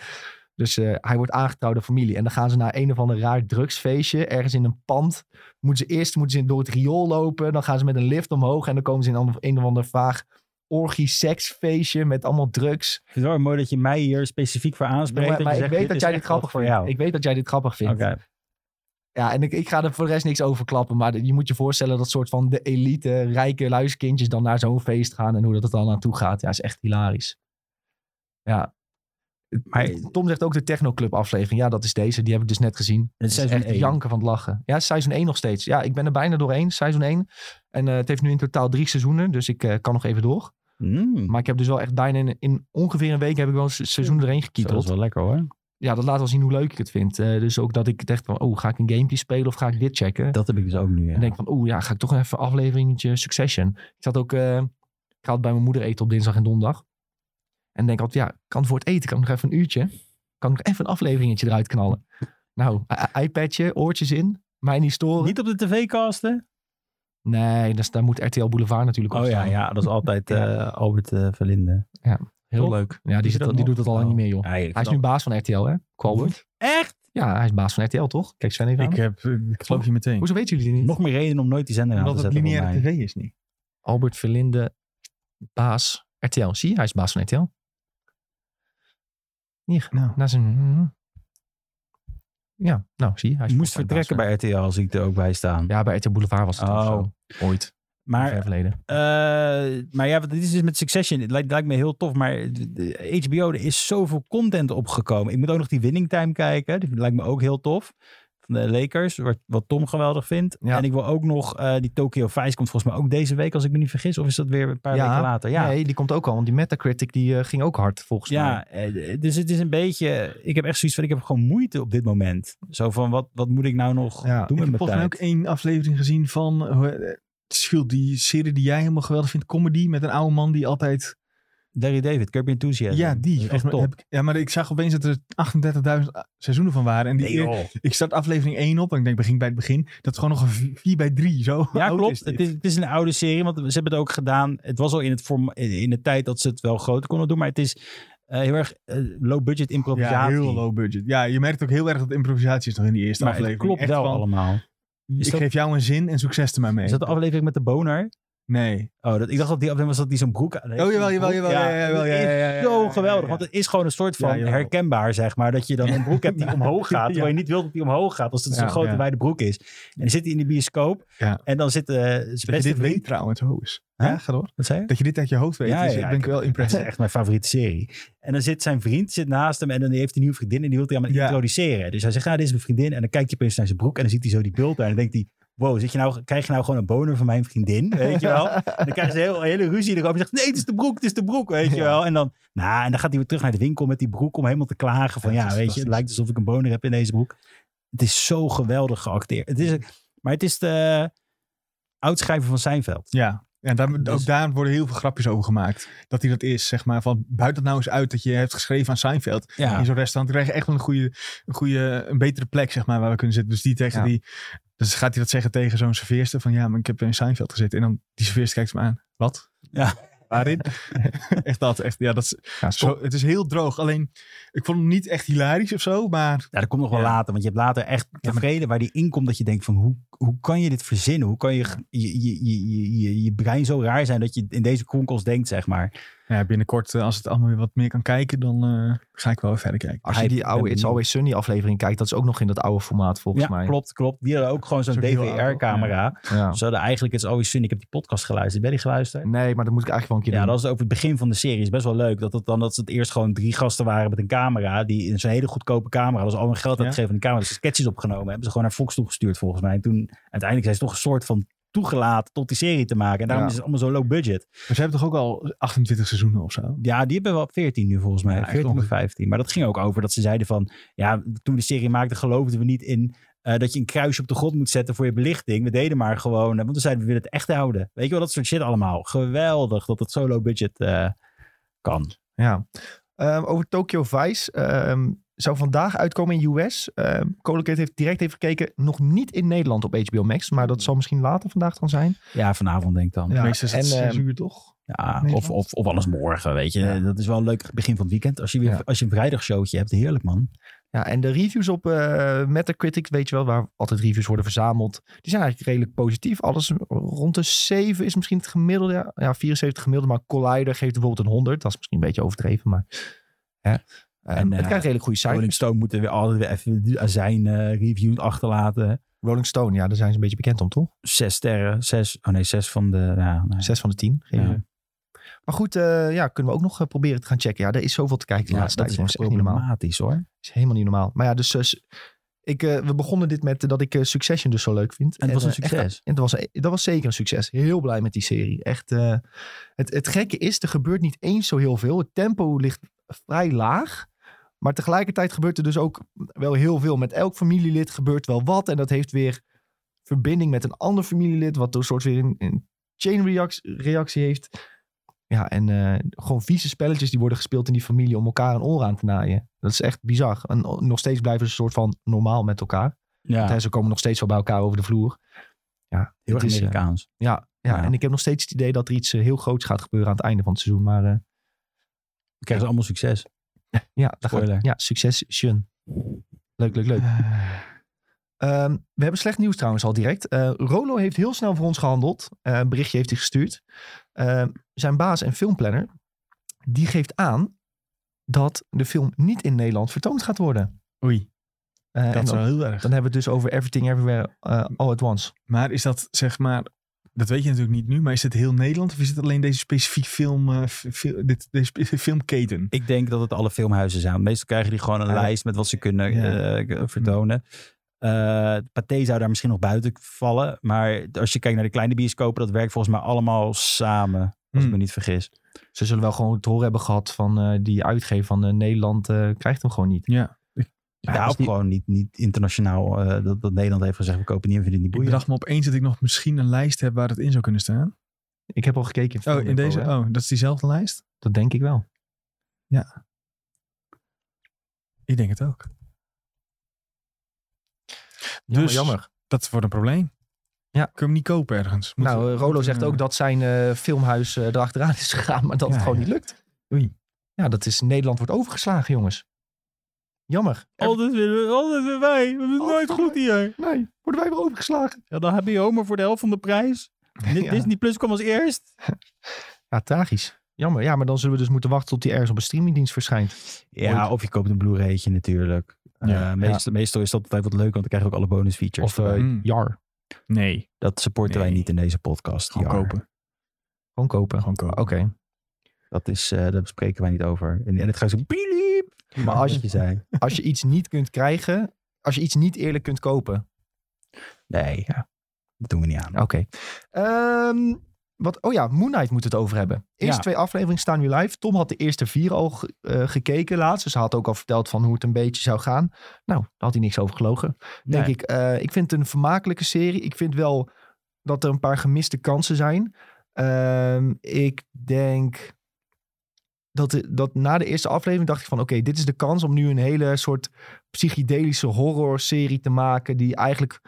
Dus eh, hij wordt aangetrouwd door familie. En dan gaan ze naar een of ander raar drugsfeestje. Ergens in een pand. Moeten ze eerst moeten ze door het riool lopen. Dan gaan ze met een lift omhoog. En dan komen ze in een, een of ander vaag orgie-seksfeestje met allemaal drugs. Ik vind het wel mooi dat je mij hier specifiek voor Ja, aanspreekt. maar, maar ik je zegt, weet dit dat is jij echt dit grappig wat vindt. Ik weet dat jij dit grappig vindt. Oké. Ja, en ik, ik ga er voor de rest niks over klappen. Maar je moet je voorstellen dat soort van de elite, rijke luiskindjes dan naar zo'n feest gaan. En hoe dat het dan aan toe gaat. Ja, is echt hilarisch. Ja. Maar- Tom zegt ook de Technoclub aflevering. Ja, dat is deze. Die heb ik dus net gezien. Het is Het is seizoen echt één. janken van het lachen. Ja, seizoen 1 nog steeds. Ja, ik ben er bijna doorheen. Seizoen 1. En eh, het heeft nu in totaal drie seizoenen. Dus ik eh, kan nog even door. Mm, Maar ik heb dus wel echt bijna in, in ongeveer een week heb ik wel een se- seizoen erheen zo, dat gekieteld is wel lekker hoor. ja, dat laat wel zien hoe leuk ik het vind. Eh, dus ook dat ik het echt van, oh, ga ik een gamepje spelen of ga ik dit checken? Dat heb ik dus ook nu. ja. En denk van, oh ja, ga ik toch even een afleveringetje Succession. Ik zat ook, eh, ik had bij mijn moeder eten op dinsdag en donderdag. En denk altijd, ja, kan voor het eten, kan ik nog even een uurtje. Kan ik nog even een afleveringetje eruit knallen. Nou, i- i- iPadje, oortjes in. Mij niet storen. Niet op de tv casten? Nee, dus daar moet RTL Boulevard natuurlijk op Oh ja, staan. ja, dat is altijd Ja. eh, Albert eh, Verlinde. Heel Toch? leuk. Ja, die, Is zit, dat al- die nog? doet dat al lang Oh. niet meer, joh. Ja, ik Hij is nu vind baas van RTL, hè? Kwalbert. dat- Echt? Ja, hij is baas van RTL, toch? Kijk Sven even Ik, aan. heb, ik geloof je meteen. Hoezo weten jullie dit niet? eh, Nog meer reden om nooit die zender aan nou te Omdat het zetten. voor lineaire mij. tv is niet. Albert Verlinde, baas RTL. Zie je, hij is baas van RTL. Hier, Nou, na zijn... Ja, nou, zie je. Hij is Ik moest baas van- vertrekken bij RTL als ik er ook bij staan. Ja, bij RTL Boulevard was het Oh. of zo. Ooit, maar, ver Maar, verleden. eh, maar ja, wat- dit is dus met Succession. Het lijkt, lijkt me heel tof, maar de- de HBO, er is zoveel content opgekomen. Ik moet ook nog die Winning Time kijken. Die lijkt me ook heel tof. Van de Lakers, wat, wat Tom geweldig vindt. Ja. En ik wil ook nog, eh, die Tokyo Vice komt volgens mij ook deze week, als ik me niet vergis. Of is dat weer een paar Ja. weken later? Ja, Nee, die komt ook al, want die Metacritic die, eh, ging ook hard, volgens mij. Ja, eh, dus het is een beetje. Ik heb echt zoiets van: ik heb gewoon moeite op dit moment. Zo van: wat, wat moet ik nou nog ja. doen Oh, ik met heb mijn volgens mij tijd? ook één aflevering gezien van... eh, Schild, die serie die jij helemaal geweldig vindt. Comedy met een oude man die altijd... Larry David, Kirby Enthusiasm. Ja, Dat die. is Echt Volgens mij top. heb ik- ja, maar ik zag opeens dat er 38.000 seizoenen van waren. En die, Nee, joh. ik start aflevering 1 op en ik denk, begin bij het begin. Dat is gewoon nog een 4 bij 3. Zo Ja, oud klopt. Is dit. het, is, het is een oude serie, want ze hebben het ook gedaan. Het was al in, het form, in in de tijd dat ze het wel groter konden doen, maar het is eh, heel erg eh, low budget ja, improvisatie. heel low budget. Ja, je merkt ook heel erg dat improvisatie is nog in die eerste maar het aflevering. klopt Echt wel van, allemaal. Is Ik dat, geef jou een zin en succes er maar mee. is dat de aflevering met de boner? Nee. Oh, dat, ik dacht dat die aflevering was dat die zo'n broek aan. Oh, jawel, jawel, jawel. Ja, jawel, ja, dat is ja, ja, ja, ja, zo ja, geweldig. Eh, ja. Want het is gewoon een soort van Ja, jawel. herkenbaar, zeg maar. Dat je dan een broek hebt die Ja. omhoog gaat. Terwijl Ja. je niet wilt dat die omhoog gaat. Als het zo'n Ja, grote ja. wijde broek is. En dan zit hij in de bioscoop. Ja. En dan zit eh zijn Dat je beste dit vriend. weet trouwens, ho eens. Huh? Ja, ga door. Wat zei je? Dat je dit uit je hoofd weet, Ja, dus ja, ik ben ik- wel Dat is impressief. echt mijn favoriete serie. En dan zit zijn vriend zit naast hem en dan heeft hij een nieuwe vriendin en die wil hij aan Ja. introduceren. Dus hij zegt, ja, dit is mijn vriendin. En dan kijkt hij opeens naar zijn broek en dan ziet hij zo die bult daar. En dan denkt hij, wow, zit je nou, krijg je nou gewoon een boner van mijn vriendin? Weet je wel? En dan krijgen ze een heel- hele ruzie erover. Hij zegt, nee, het is de broek, het is de broek, weet je Ja. wel? En dan, nou, en dan gaat hij weer terug naar de winkel met die broek om helemaal te klagen van, Ja, ja, het is weet je, het fantastisch. lijkt alsof ik een boner heb in deze broek. Het is zo geweldig geacteerd. Het is, maar het is de uitschrijver van Seinfeld. Ja. En daar, Dus- ook daar worden heel veel grapjes over gemaakt. Dat hij dat is, zeg maar. Van buiten dat nou eens uit dat je hebt geschreven aan Seinfeld. Ja. in zo'n restaurant krijg je echt wel een goede, een goede, een betere plek, zeg maar, waar we kunnen zitten. Dus die tegen Ja. die, dus gaat hij dat zeggen tegen zo'n serveerster van, ja, maar ik heb in Seinfeld gezeten. En dan die serveerster kijkt hem aan. Wat? Ja. Waarin? echt dat, echt, ja, dat is, Ja, stop. zo, het is heel droog. Alleen, ik vond hem niet echt hilarisch of zo, maar Ja, dat komt nog wel Ja. later. Want je hebt later echt tevreden waar die inkomt dat je denkt van hoe, hoe kan je dit verzinnen? Hoe kan je je, je, je, je je brein zo raar zijn dat je in deze kronkels denkt, zeg maar. ja, binnenkort, eh, als het allemaal weer wat meer kan kijken, dan eh, ga ik wel weer verder kijken. Als je Hij- die oude ben It's benieuwd. Always Sunny aflevering kijkt, dat is ook nog in dat oude formaat, volgens ja, mij. klopt, klopt. Die hadden ook gewoon zo'n Dat is ook heel oud, toch? DVR-camera. Ja. Ze hadden eigenlijk, het is always Sunny, ik heb die podcast geluisterd. Ben je die geluisterd? Nee, maar dat moet ik eigenlijk wel een keer Ja, doen. dat was over het begin van de serie. Is best wel leuk. Dat het dan dat ze het eerst gewoon drie gasten waren met een camera. Die in zo'n hele goedkope camera. Dat ze al hun geld Ja. uitgegeven aan die camera. Dus sketches opgenomen. Hebben ze gewoon naar Fox toegestuurd volgens mij. En toen uiteindelijk zijn ze toch een soort van toegelaten tot die serie te maken. En daarom Ja. is het allemaal zo low budget. Maar ze hebben toch ook al 28 seizoenen of zo? Ja, die hebben wel 14 nu volgens mij. Ja, echt 14 of ongeveer. 15. Maar dat ging ook over dat ze zeiden van... Ja, toen we de serie maakten geloofden we niet in... eh, dat je een kruisje op de grond moet zetten voor je belichting. We deden maar gewoon... eh, want we zeiden we willen het echt houden. Weet je wel, dat soort shit allemaal. Geweldig dat het zo low budget eh, kan. Ja. Ehm, over Tokyo Vice. ehm, zou vandaag uitkomen in US. Ehm Colocate heeft direct even gekeken. Nog niet in Nederland op HBO Max. Maar dat zal misschien later vandaag dan zijn. Ja, vanavond denk ik dan. Ja, Meestal is het en, zes ehm, uur toch? Ja, Nederland. of, of, of alles morgen, weet je. Ja. Dat is wel een leuk begin van het weekend. Als je, weer, Ja. als je een vrijdagshowtje hebt, heerlijk man. Ja, en de reviews op eh, Metacritic, weet je wel, waar altijd reviews worden verzameld. Die zijn eigenlijk redelijk positief. Alles rond de 7 is misschien het gemiddelde. Ja, Ja, 74 gemiddelde. Maar Collider geeft bijvoorbeeld een 100. Dat is misschien een beetje overdreven, maar... Hè. Ehm, En, het eh, krijgt redelijk goede cijfers. Rolling Stone moeten weer altijd weer even zijn reviews achterlaten. Rolling Stone, ja, daar zijn ze een beetje bekend om, toch? Zes sterren, zes, oh nee, zes van de... Ja, nee. 6 van de 10 geven Ja. ze. Maar goed, eh, ja, kunnen we ook nog eh, proberen te gaan checken. Ja, er is zoveel te kijken de Ja, laatste dat tijd. is jongens. echt Echt niet normaal. problematisch hoor. is helemaal niet normaal. Maar ja, dus eh, s- ik, eh, we begonnen dit met eh, dat ik eh, Succession dus zo leuk vind. En het was een eh, echt, succes. en dat was, dat was zeker een succes. Heel blij met die serie. Echt, eh, het, het gekke is, er gebeurt niet eens zo heel veel. Het tempo ligt vrij laag. Maar tegelijkertijd gebeurt er dus ook wel heel veel. Met elk familielid gebeurt wel wat. En dat heeft weer verbinding met een ander familielid. Wat een soort weer een, een chain react- reactie heeft. Ja, en eh, gewoon vieze spelletjes die worden gespeeld in die familie om elkaar een oor aan te naaien. Dat is echt bizar. En o- nog steeds blijven ze een soort van normaal met elkaar. Ja, En ze komen nog steeds wel bij elkaar over de vloer. Ja, heel het erg is, eh, Amerikaans. ja, ja, Ja. en ik heb nog steeds het idee dat er iets eh, heel groots gaat gebeuren aan het einde van het seizoen. Maar eh, Dan krijgen ze allemaal succes. ja, daar gaat- Spoiler. ja, succes, Shun. Leuk, leuk, leuk. Eh, Ehm, we hebben slecht nieuws trouwens al direct. Eh, Rolo heeft heel snel voor ons gehandeld. Eh, een berichtje heeft hij gestuurd. Ehm, zijn baas en filmplanner, die geeft aan dat de film niet in Nederland vertoond gaat worden. Oei, Eh, en dat is dan, wel heel erg. dan hebben we het dus over Everything Everywhere eh, All at Once. Maar is dat zeg maar, dat weet je natuurlijk niet nu, maar is het heel Nederland of is het alleen deze specifieke film, eh, fi- fi- dit, deze spe- filmketen? Ik denk dat het alle filmhuizen zijn. Meestal krijgen die gewoon een Ja. lijst met wat ze kunnen Ja. eh, Mhm. k- vertonen. Eh Pathé zou daar misschien nog buiten vallen. Maar als je kijkt naar de kleine bioscopen, dat werkt volgens mij allemaal samen. Als Mhm. ik Hmm. me niet vergis. Ze zullen wel gewoon het horen hebben gehad van eh, die uitgever van eh, Nederland eh, krijgt hem gewoon niet. Ja. Ja, Ja, als of die- gewoon niet, niet internationaal. eh, dat, dat Nederland heeft gezegd, we kopen niet en vinden het Ik niet boeiend. bedacht me opeens dat ik nog misschien een lijst heb waar het in zou kunnen staan. Ik heb al gekeken. Oh, in Filmdepot, deze? hè. Oh, dat is diezelfde lijst? Dat denk ik wel. Ik denk het ook. Jammer, Dus- jammer. Dat wordt een probleem. Ja. Kun je hem niet kopen ergens? Moet- nou, eh, Rolo moet- zegt eh, ook dat zijn eh, filmhuis eh, erachteraan is gegaan, maar dat Ja, het gewoon ja. niet lukt. Oei. Ja, dat is Nederland wordt overgeslagen, jongens. Jammer. Oh. Altijd weer, altijd weer wij. We hebben het nooit goed hier. Nee, worden wij weer overgeslagen. Ja, dan heb je Homer voor de helft van de prijs. Ja. Disney Plus kwam als eerst. Ja, tragisch. Jammer. Ja, maar dan zullen we dus moeten wachten tot die ergens op een streamingdienst verschijnt. Ja, Ooit. of je koopt een Blu-raytje natuurlijk. Ja. Eh, meestal, meestal is dat altijd wat leuk, want dan krijg je ook alle bonus Of features. eh, Mm. Jar. Nee, Dat supporten wij Nee. niet in deze podcast. gewoon Jar. kopen. Gewoon kopen. Gewoon kopen. Oké. Dat is, eh daar bespreken wij niet over. En, en het gaat zo piep. Maar als je, zei. als je iets niet kunt krijgen, als je iets niet eerlijk kunt kopen. Nee, ja. dat doen we niet aan. Oké. Ehm, wat, oh ja, Moon Knight moet het over hebben. Eerste Ja. twee afleveringen staan nu live. Tom had de eerste vier al ge- eh, gekeken laatst. Dus hij had ook al verteld van hoe het een beetje zou gaan. Nou, daar had hij niks over gelogen. Denk Nee. ik, Eh, ik vind het een vermakelijke serie. Ik vind wel dat er een paar gemiste kansen zijn. Ehm, ik denk dat, de- dat na de eerste aflevering dacht ik van... oké, dit is de kans om nu een hele soort psychedelische horror-serie te maken... die eigenlijk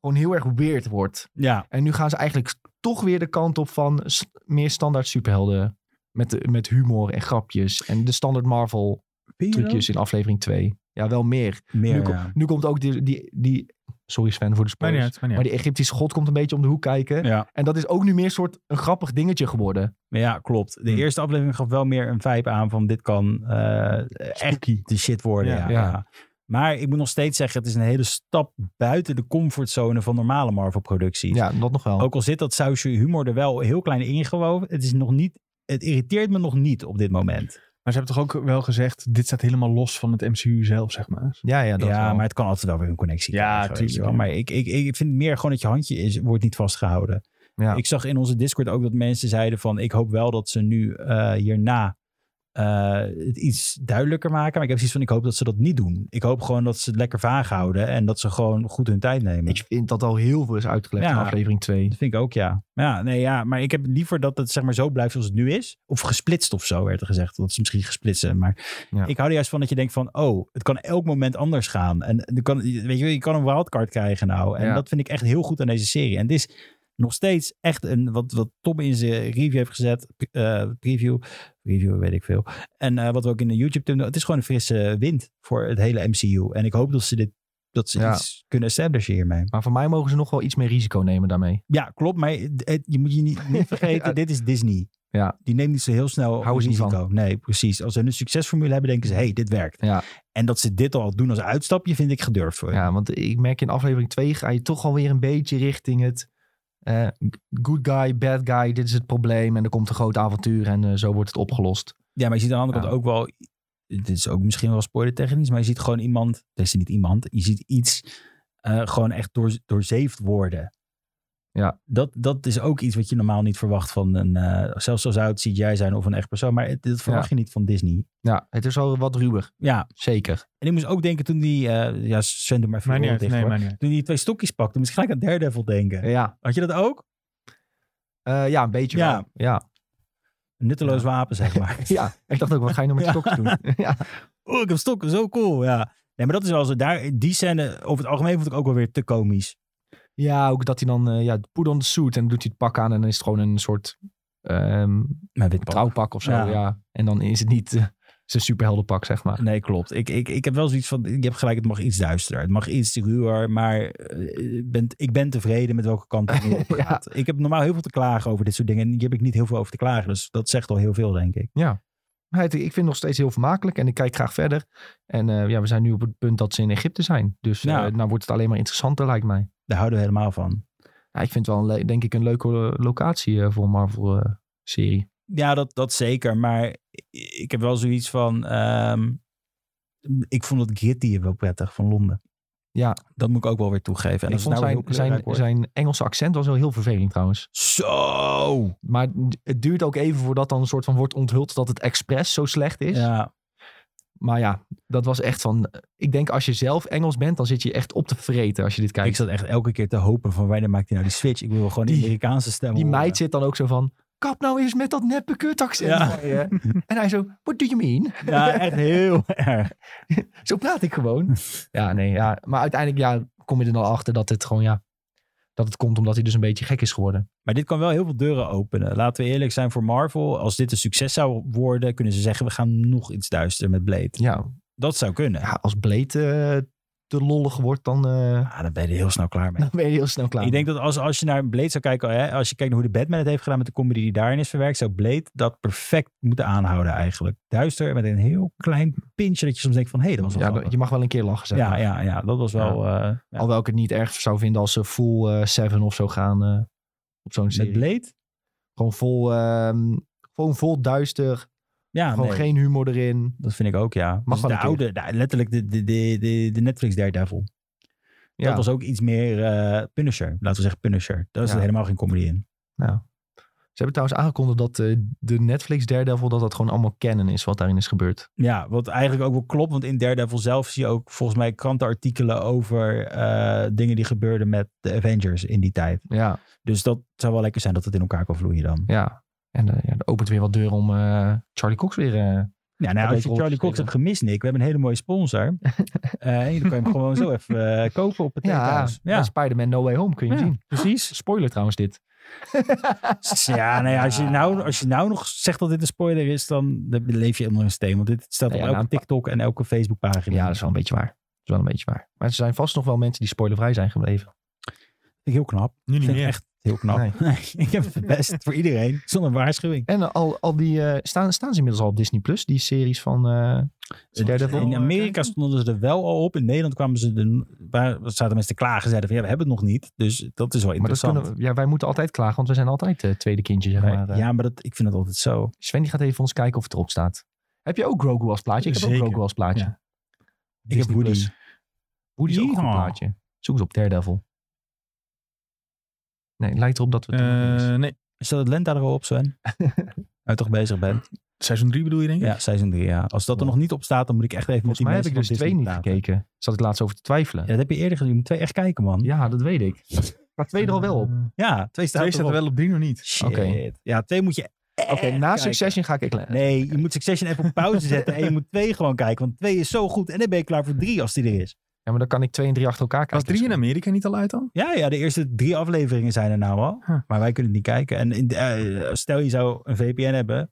gewoon heel erg weird wordt. Ja, En nu gaan ze eigenlijk toch weer de kant op van s- meer standaard superhelden. Met, met humor en grapjes. En de standaard Marvel trucjes in aflevering 2. Ja, wel meer. meer. nu, kom- ja. nu komt ook die, die, die... Sorry Sven voor de Maar niet spoilers. uit, maar niet Maar uit. die Egyptische god komt een beetje om de hoek kijken. Ja. En dat is ook nu meer een soort een grappig dingetje geworden. Maar ja, klopt. De Hm. eerste aflevering gaf wel meer een vibe aan van dit kan eh echt de shit worden. Ja, Ja. Ja. ja. Maar ik moet nog steeds zeggen, het is een hele stap buiten de comfortzone van normale Marvel-producties. Ja, dat nog wel. Ook al zit dat sausje humor er wel heel klein in gewoven, het is nog niet, het irriteert me nog niet op dit moment. Maar ze hebben toch ook wel gezegd, dit staat helemaal los van het MCU zelf, zeg maar. Ja, ja, dat ja, wel. maar het kan altijd wel weer een connectie Ja, krijgen, weet je tuurlijk, wel. ja. Maar ik, ik, ik vind meer gewoon dat je handje is, wordt niet vastgehouden. Ja. Ik zag in onze Discord ook dat mensen zeiden van... ik hoop wel dat ze nu eh, hierna eh, het iets duidelijker maken. Maar ik heb zoiets van, ik hoop dat ze dat niet doen. Ik hoop gewoon dat ze het lekker vaag houden... en dat ze gewoon goed hun tijd nemen. Ik vind dat al heel veel is uitgelegd Ja. in aflevering 2. Dat vind ik ook, ja. Ja, nee, ja. Maar ik heb liever dat het zeg maar zo blijft zoals het nu is. Of gesplitst of zo, werd er gezegd. Dat ze misschien gesplitst zijn. Maar Ja. ik hou er juist van dat je denkt van... oh, het kan elk moment anders gaan. En er kan, weet je, je kan een wildcard krijgen nou. En Ja. dat vind ik echt heel goed aan deze serie. En het is nog steeds echt een... wat, wat Tom in zijn review heeft gezet... eh, preview, review weet ik veel. En eh, wat we ook in de YouTube... doen, het is gewoon een frisse wind voor het hele MCU. En ik hoop dat ze dit... dat ze Ja. iets kunnen establishen hiermee. Maar voor mij mogen ze nog wel iets meer risico nemen daarmee. Ja, klopt. Maar het- het- je moet je niet, niet vergeten, Ja. dit is Disney. Ja. Die neemt niet zo heel snel Houden ze niet risico. Nee, precies. Als ze een succesformule hebben, denken ze, hey, dit werkt. Ja. En dat ze dit al doen als uitstapje, vind ik gedurfd voor je. Oh Ja, want ik merk in aflevering 2 ga je toch alweer een beetje richting het eh, good guy, bad guy, dit is het probleem en er komt een groot avontuur en eh, zo wordt het opgelost. Ja, maar je ziet aan de andere Ja. kant ook wel... Dit is ook misschien wel spoilertechnisch, maar je ziet gewoon iemand... Er is niet iemand. Je ziet iets eh, gewoon echt door, doorzeefd worden. Ja. Dat, dat is ook iets wat je normaal niet verwacht van een... eh, zelfs zo zou het CGI zijn of een echt persoon. Maar het, dat verwacht je niet van Disney. Ja, het is al wat ruwer, Ja, zeker. en ik moest ook denken toen die... eh, ja, zend hem maar even Maar niet oren dicht, uit, nee, hoor. maar niet uit. Toen hij die twee stokjes pakte, moest ik gelijk aan Daredevil denken. Ja, Had je dat ook? Eh, ja een beetje Ja. wel. Ja. Een nutteloos wapen, zeg maar. Ja, ik dacht ook, wat ga je nou met Ja. stokken doen? ja. Oh, ik heb stokken, zo cool. Ja. Nee, maar dat is wel zo. Daar, die scène, over het algemeen, vond ik ook wel weer te komisch. ja, ook dat hij dan, eh, ja, put on the suit en dan doet hij het pak aan en dan is het gewoon een soort ehm, Maar wit pak. trouwpak of zo. Ja. Ja. En dan is het niet eh, zijn superheldenpak, zeg maar. Nee, klopt. Ik, ik, ik heb wel zoiets van, je hebt gelijk, het mag iets duisterder. Het mag iets ruwer, maar eh, bent, ik ben tevreden met welke kant het nu op Ja. gaat. Ik heb normaal heel veel te klagen over dit soort dingen. En hier heb ik niet heel veel over te klagen. Dus dat zegt al heel veel, denk ik. Maar het- ik vind het nog steeds heel vermakelijk en ik kijk graag verder. En eh, ja, we zijn nu op het punt dat ze in Egypte zijn. Dus eh, Ja. nou wordt het alleen maar interessanter, lijkt mij. Daar houden we helemaal van. Ja, ik vind het wel, een le- denk ik, een leuke eh, locatie eh, voor een Marvel-serie. Ja, dat, dat zeker. Maar i- ik heb wel zoiets van. ehm, ik vond het gritty hier wel prettig van Londen. Ja. Dat moet ik ook wel weer toegeven. En ik als het vond nou weer zijn, heel zijn, kleurrijk wordt. zijn Engelse accent was wel heel vervelend trouwens. Zo! Maar het duurt ook even voordat dan een soort van wordt onthuld dat het expres zo slecht is. Ja, Maar ja, dat was echt van... Ik denk als je zelf Engels bent, dan zit je echt op te vreten als je dit ik kijkt. zat echt elke keer te hopen van wanneer maakt hij nou die switch? Ik wil gewoon die Die- Amerikaanse stem Die horen. meid zit dan ook zo van... Kap nou eens met dat neppe kutaccent Ja. van je." En hij zo, what do you mean? Ja, echt heel erg. Zo praat ik gewoon. Ja, nee, ja. Maar uiteindelijk ja, kom je er dan achter dat het gewoon, ja... Dat het komt omdat hij dus een beetje gek is geworden. Maar dit kan wel heel veel deuren openen. Laten we eerlijk zijn voor Marvel. Als dit een succes zou worden, kunnen ze zeggen... we gaan nog iets duister met Blade. Ja, Dat zou kunnen. ja als Blade eh, te lollig wordt, dan, eh, Ah, dan ben je er heel snel klaar mee. dan ben je heel snel klaar. Ik denk dat als, als je naar Blade zou kijken, hè, als je kijkt naar hoe de Batman het heeft gedaan met de comedy die daarin is verwerkt, zou Blade dat perfect moeten aanhouden eigenlijk. Duister met een heel klein pintje dat je soms denkt van, hé, dat was wel Ja, grappig. je mag wel een keer lachen, zeg ja, maar. ja, ja, dat was wel... eh, ja. Alhoewel ik het niet erg zou vinden als ze full eh, Seven of zo gaan eh, op zo'n Met serie. Blade? Gewoon vol, ehm, gewoon vol duister. Ja, gewoon Ah, nee, geen humor erin. dat vind ik ook, ja. wel Dus de een keer. oude, de- letterlijk de, de, de, de, de Netflix Daredevil. Ja. Dat was ook iets meer eh, Punisher. Laten we zeggen Punisher. Daar is Ja. er helemaal geen comedy in. nou. Ze hebben trouwens aangekondigd dat eh, de Netflix Daredevil... dat dat gewoon allemaal canon is wat daarin is gebeurd. Ja, wat eigenlijk ook wel klopt, want in Daredevil zelf zie je ook volgens mij krantenartikelen over eh, dingen die gebeurden met de Avengers in die tijd. Ja, Dus dat zou wel lekker zijn dat het in elkaar kan vloeien dan. ja. En eh, ja, dat opent weer wat deuren om eh, Charlie Cox weer... eh, Ja, nou, Dat als is je wel Charlie Cox opgeschreven. hebt gemist, Nick, we hebben een hele mooie sponsor. Eh, en dan kan je hem gewoon zo even eh, kopen op het ja, thuis. Ja, bij Spider-Man No Way Home kun je hem Ja, zien. precies. Spoiler trouwens dit. Ja, nou ja, als je nou, als je nou nog zegt dat dit een spoiler is, dan dan leef je helemaal in steen. Want dit staat op Nou ja, elke nou, TikTok en elke Facebookpagina. Ja, dat is wel een beetje waar. Dat is wel een beetje waar. Maar er zijn vast nog wel mensen die spoilervrij zijn gebleven. Vind ik heel knap. Nu niet Vind ik meer. echt heel knap. Nee. ik heb het best voor iedereen, zonder waarschuwing. En eh, al, al die, eh, staan, staan ze inmiddels al op Disney Plus, die series van eh Daredevil? In eh, Amerika kijken? stonden ze er wel al op. In Nederland kwamen ze er, waar zaten mensen te klagen. Zeiden van ja, we hebben het nog niet. Dus dat is wel Maar dat interessant. kunnen, we- ja, wij moeten altijd klagen, want we zijn altijd eh, tweede kindje, zeg maar. eh. ja, maar dat, ik vind dat altijd zo. Sven die gaat even voor ons kijken of het erop staat. Heb je ook Grogu als plaatje? Ik heb Zeker. ook Grogu als plaatje. Ja. Ik Disney heb Woody. Plus. Woody is ook een goed Yeehaw. plaatje. Zoek eens op Daredevil. Nee, het lijkt erop dat we het er nog niet Eh, is. nee, Stel dat Lenta er al op, Sven. Uit toch bezig bent. seizoen 3 bedoel je denk ik? Ja, seizoen 3. Ja. Als dat er Ja. nog niet op staat, dan moet ik echt even Volgens met mij die heb ik dus mensen van twee niet Disney praten. gekeken. Zat ik laatst over te twijfelen. Ja, Ja, dat heb je eerder gezien. Je moet twee echt kijken, man. Ja, dat weet ik. Maar twee er al wel op. twee staat Eh, Twee staat er erop. wel op, drie nog niet. Shit. Oké. Ja, twee moet je Oké, na Succession ga ik... ik Nee, je moet Succession even op pauze zetten en je moet twee gewoon kijken. Want twee is zo goed en dan ben je klaar voor drie als die er is. Ja, maar dan kan ik twee en drie achter elkaar Was kijken. Dus- drie in Amerika niet al uit dan? Ja, ja, de eerste drie afleveringen zijn er nou al. Huh. Maar wij kunnen het niet kijken. En in de- eh, stel je zou een VPN hebben,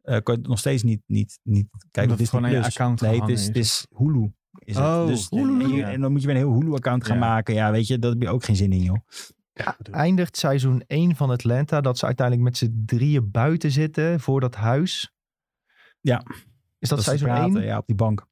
eh, kan je het nog steeds niet, niet, niet kijken. het op Disney gewoon aan je Plus. account Nee, het gehangen is, is. het is Hulu. Is het. Oh, dus, Hulu, en je- ja. En dan moet je weer een heel Hulu-account gaan Ja. maken. Ja, weet je, daar heb je ook geen zin in, joh. eindigt seizoen 1 van Atlanta. Dat ze uiteindelijk met z'n drieën buiten zitten voor dat huis. Ja. Is dat, ze seizoen Dus, praten, 1? Ja, Ja, op die bank.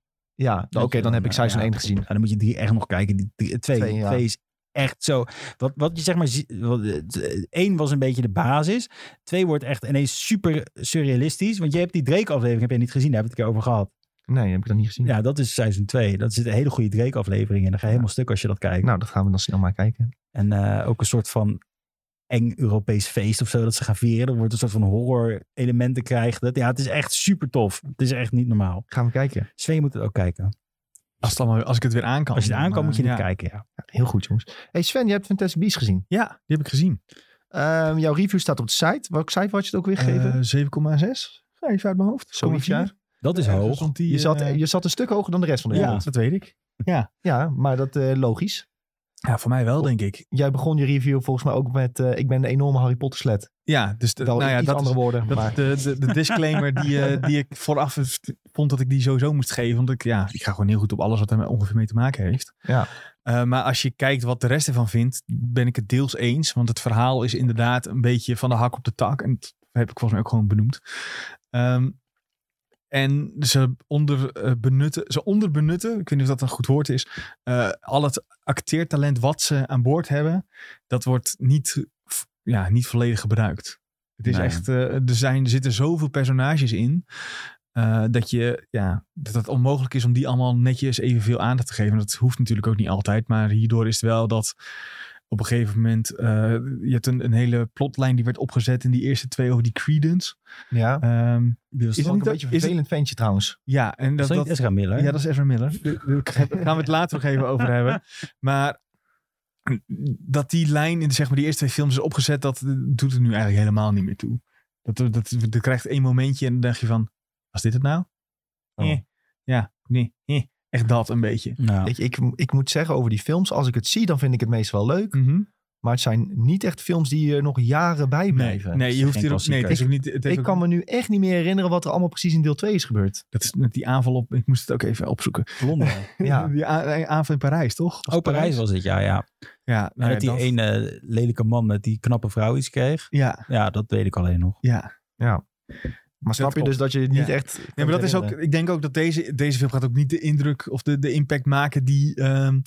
oké, dan heb ik seizoen ja, 1 gezien. Ja, dan moet je drie echt nog kijken. Die, drie- twee, Twee, ja. twee is echt zo. Wat, wat je zeg maar. zie- wat, eh, t- één was een beetje de basis. Twee wordt echt ineens super surrealistisch. Want je hebt die Drake-aflevering heb je niet gezien. Daar heb ik het een keer over gehad. Nee, heb ik dat niet gezien. Ja, dat is seizoen twee. Dat zit een hele goede Drake-aflevering in. Dan ga je helemaal stuk als je dat kijkt. Nou, dat gaan we dan snel maar kijken. En eh, ook een soort van eng Europees feest of zo dat ze gaan vieren. Dan wordt een soort van horror-elementen krijgen. Dat, ja, het is echt super tof. Het is echt niet normaal. Gaan we kijken. Sven, je moet het ook kijken. Als, het allemaal, als ik het weer aan kan. Als je het aan kan, eh, Maar, moet je dit ja. kijken. Ja. Ja, heel goed, jongens. hey Sven, je hebt Fantastic Beasts gezien. Ja, die heb ik gezien. Ehm, jouw review staat op de site. Welke site had je het ook weer gegeven? Eh, 7,6? Ga even uit mijn hoofd. Zoiets, ja. 0,4. Dat is Ergens, hoog. want die, je, zat, eh, je zat een stuk hoger dan de rest van de ja, wereld. dat weet ik. Ja. Ja, maar dat eh, logisch. ja, voor mij wel, denk ik. Jij begon je review volgens mij ook met... eh, ik ben een enorme Harry Potter sled. Ja, dus de, Wel nou ja, iets dat is andere woorden. Dat maar is de, de, de disclaimer die, eh, die ik vooraf vond dat ik die sowieso moest geven. Want ik, ja, ik ga gewoon heel goed op alles wat er ongeveer mee te maken heeft. Ja. Eh, maar als je kijkt wat de rest ervan vindt, ben ik het deels eens. Want het verhaal is inderdaad een beetje van de hak op de tak. En dat heb ik volgens mij ook gewoon benoemd. Ehm, en ze, onder, eh, benutten, ze onderbenutten, ik weet niet of dat een goed woord is, eh, al het acteertalent wat ze aan boord hebben, dat wordt niet, v- ja, niet volledig gebruikt. Het is Nee. echt, eh, er, zijn, er zitten zoveel personages in, eh, dat, je, ja, dat het onmogelijk is om die allemaal netjes evenveel aandacht te geven. Dat hoeft natuurlijk ook niet altijd, maar hierdoor is het wel dat op een gegeven moment, eh, je hebt een, een hele plotlijn die werd opgezet in die eerste twee over die Credence. ja. Ehm, Dus is het het niet niet een dat- beetje een is het- vervelend ventje trouwens. ja, en dat, dat, is dat, niet Ezra Miller. ja, dat is Ezra Miller. Daar gaan we het later nog even over hebben. Maar dat die lijn in zeg maar, die eerste twee films is opgezet, dat eh, doet er nu eigenlijk helemaal niet meer toe. Dat, dat, dat, dat krijgt één momentje en dan denk je van, was dit het nou? Oh. Eh, ja, nee, eh. echt dat een beetje. Nou, Weet je, ik, ik moet zeggen over die films, als ik het zie, dan vind ik het meestal wel leuk. Mhm. Maar het zijn niet echt films die er nog jaren bij Nee, blijven. nee, je hoeft geen hier ook, nee, het is ook niet. Het heeft Ik ook- kan me nu echt niet meer herinneren wat er allemaal precies in deel 2 is gebeurd. dat is met die aanval op. Ik moest het ook even opzoeken. Londen. Ja. Die a- aanval in Parijs, toch? Was Oh, het Parijs was het, ja. ja. Ja, En nou ja, dat die dat- ene eh, lelijke man met die knappe vrouw iets kreeg. Ja, Ja, dat weet ik alleen nog. ja. Maar snap je klopt. dus dat je het niet Ja. echt... Nee, maar dat is ook, ik denk ook dat deze, deze film gaat ook niet de indruk of de, de impact maken die ehm,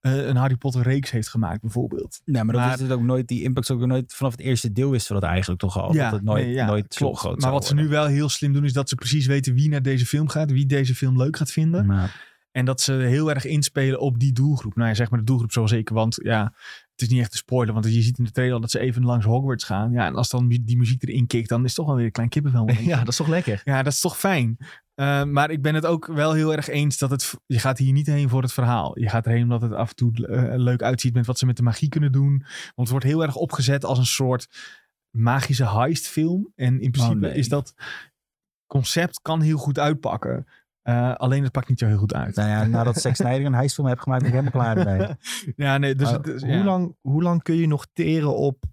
eh, een Harry Potter reeks heeft gemaakt, bijvoorbeeld. Nee, maar, Maar- dat is het ook nooit. Die impact is ook nooit vanaf het eerste deel wisten we dat eigenlijk toch al. Oh, dat het nooit, nee, ja, nooit zo klopt. groot Maar zou wat ze nu worden. wel heel slim doen, is dat ze precies weten wie naar deze film gaat, wie deze film leuk gaat vinden. Maar, En dat ze heel erg inspelen op die doelgroep. Nou ja, zeg maar de doelgroep zoals ik. Want ja, het is niet echt te spoiler. Want je ziet in de trailer al dat ze even langs Hogwarts gaan. Ja, en als dan mu- die muziek erin kikt, dan is het toch wel weer een klein kippenvel. Ja, dat is toch lekker? Ja, dat is toch fijn. Eh, maar ik ben het ook wel heel erg eens dat het. Je gaat hier niet heen voor het verhaal. Je gaat erheen omdat het af en toe eh, leuk uitziet met wat ze met de magie kunnen doen. Want het wordt heel erg opgezet als een soort magische heistfilm. En in Oh, principe nee. is dat concept kan heel goed uitpakken. Eh, alleen het pakt niet zo heel goed uit. nou ja, nadat Zack Snyder een heistfilm heeft gemaakt, ben ik helemaal klaar ermee. Ja, nee, dus Maar het is- hoe, ja. lang, hoe lang kun je nog teren op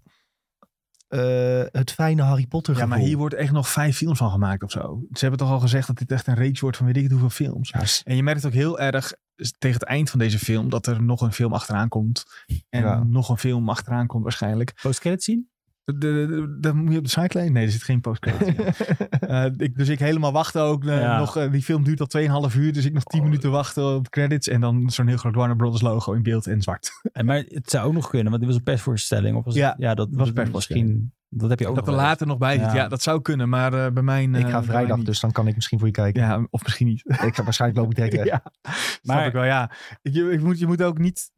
eh, het fijne Harry Potter Ja, gevoel? maar hier wordt echt nog vijf films van gemaakt of zo. Ze hebben toch al gezegd dat dit echt een reeks wordt van weet ik het hoeveel films. Ja, s- En je merkt ook heel erg s- tegen het eind van deze film dat er nog een film achteraan komt. En Ja. nog een film achteraan komt waarschijnlijk. Post-credit zien? De- de- de- Dan moet je op de site lezen. Nee, er zit geen postcode. ik, dus ik helemaal wachten ook. eh, Ja. nog, eh, die film duurt al 2,5 uur. Dus ik nog 10 Oh. minuten wachten op credits. En dan zo'n heel groot Warner Brothers logo in beeld en zwart. En, Eh, maar het zou ook nog kunnen, want dit was een persvoorstelling. Of was het- Ja, ja, dat was was een persvoorstelling. misschien. Dat heb je ook dat er nog wel eens. later nog bij zit. Oh. Ja. Ja. dat zou kunnen. Maar eh, bij mij. ik ga vrijdag, dus dan kan ik misschien voor je kijken. Ja, of misschien niet. Ik ga waarschijnlijk lopen direct weg. Ja, maar Maar- ik wel. Ja, ik, je- ik moet, je moet ook niet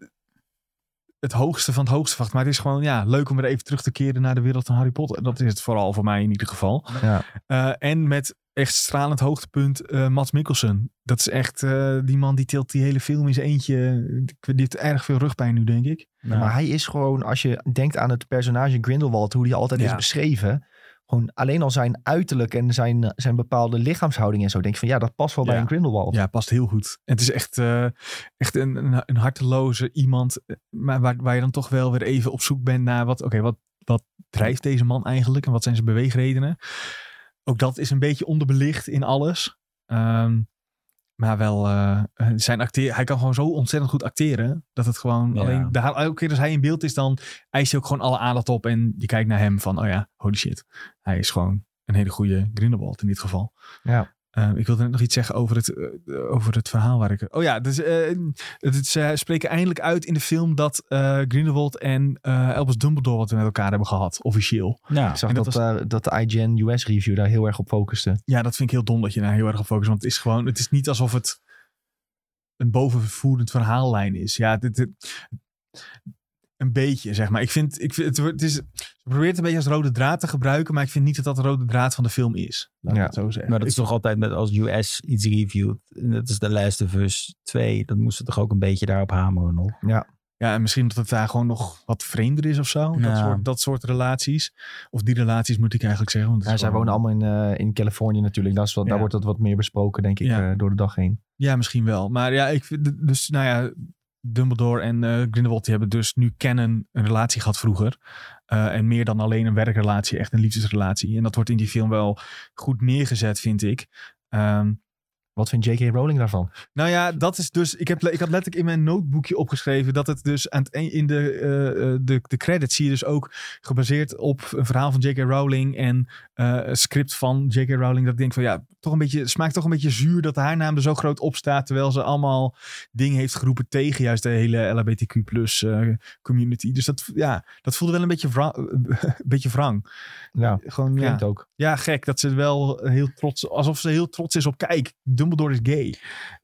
het hoogste van het hoogste wachten. Maar het is gewoon ja, leuk om weer even terug te keren naar de wereld van Harry Potter. Dat is het vooral voor mij in ieder geval. Ja. Eh, en met echt stralend hoogtepunt eh Matt Mikkelsen. Dat is echt eh, die man die tilt die hele film in zijn eentje. Ik weet- Die heeft erg veel rugpijn nu, denk ik. Nou, Maar hij is gewoon, als je denkt aan het personage Grindelwald, hoe die altijd Ja. is beschreven. Gewoon alleen al zijn uiterlijk en zijn, eh, zijn bepaalde lichaamshouding en zo. Denk je van ja, dat past wel bij Ja. een Grindelwald. Ja, past heel goed. En het is echt, eh, echt een, een, een harteloze iemand. eh, Maar waar, waar je dan toch wel weer even op zoek bent naar wat, oké, wat, wat drijft deze man eigenlijk en wat zijn zijn beweegredenen. Ook dat is een beetje onderbelicht in alles. Ehm, maar wel, eh, zijn acteer, hij kan gewoon zo ontzettend goed acteren. Dat het gewoon Ja. alleen, daar, elke keer als hij in beeld is, dan eist hij ook gewoon alle aandacht op. En je kijkt naar hem van, oh ja, holy shit. Hij is gewoon een hele goede Grindelwald in dit geval. Eh, ik wilde net nog iets zeggen over het, eh, over het verhaal waar ik... Oh ja, dus, eh, het, het- ze spreken eindelijk uit in de film dat eh Grindelwald en eh Albus Dumbledore wat met elkaar hebben gehad, officieel. ja. Ik zag En dat, dat daar- dat de IGN US review daar heel erg op focuste. Ja, dat vind ik heel dom dat je daar heel erg op focust, want het is gewoon, het is niet alsof het een bovenvoerend verhaallijn is. Ja, dit, dit- een beetje, zeg maar. Ik vind, ik vind het, wordt- het is, ze probeert het een beetje als rode draad te gebruiken, maar ik vind niet dat dat de rode draad van de film is. Laat Ja. ik het zo zeggen. Maar dat is toch altijd met als US iets reviewt. en Dat is de Last of Us 2. Dat moesten toch ook een beetje daarop hameren nog. Ja, en misschien dat het daar gewoon nog wat vreemder is of zo. Dat, Ja. soort, dat soort relaties. Of die relaties moet ik eigenlijk zeggen. Want het Ja, is zij gewoon- wonen allemaal in, eh, in Californië natuurlijk. Dat is wel, Ja. Daar wordt dat wat meer besproken, denk ik, Ja. eh, door de dag heen. Ja, misschien wel. Maar ja, ik vind, dus nou ja, Dumbledore en eh, Grindelwald die hebben dus nu kennen een relatie gehad vroeger. Eh, en meer dan alleen een werkrelatie, echt een liefdesrelatie. En dat wordt in die film wel goed neergezet, vind ik. Ehm, Wat vindt J.K. Rowling daarvan? nou ja, dat is dus. Ik, heb, le- ik had letterlijk in mijn notebookje opgeschreven dat het dus aan het, e- in de, eh, eh, de, de credits zie je dus ook gebaseerd op een verhaal van J.K. Rowling en eh, een script van J.K. Rowling. Dat ik denk van ja, toch een beetje, het smaakt toch een beetje zuur dat haar naam er zo groot op staat. Terwijl ze allemaal dingen heeft geroepen tegen juist de hele LHBTQ plus eh, community. Dus dat, ja, dat voelde wel een beetje, wra- een beetje wrang. Ja, Gewoon, ja. klinkt ook. Ja, gek. Dat ze wel heel trots... Alsof ze heel trots is op... Kijk, Dumbledore is gay.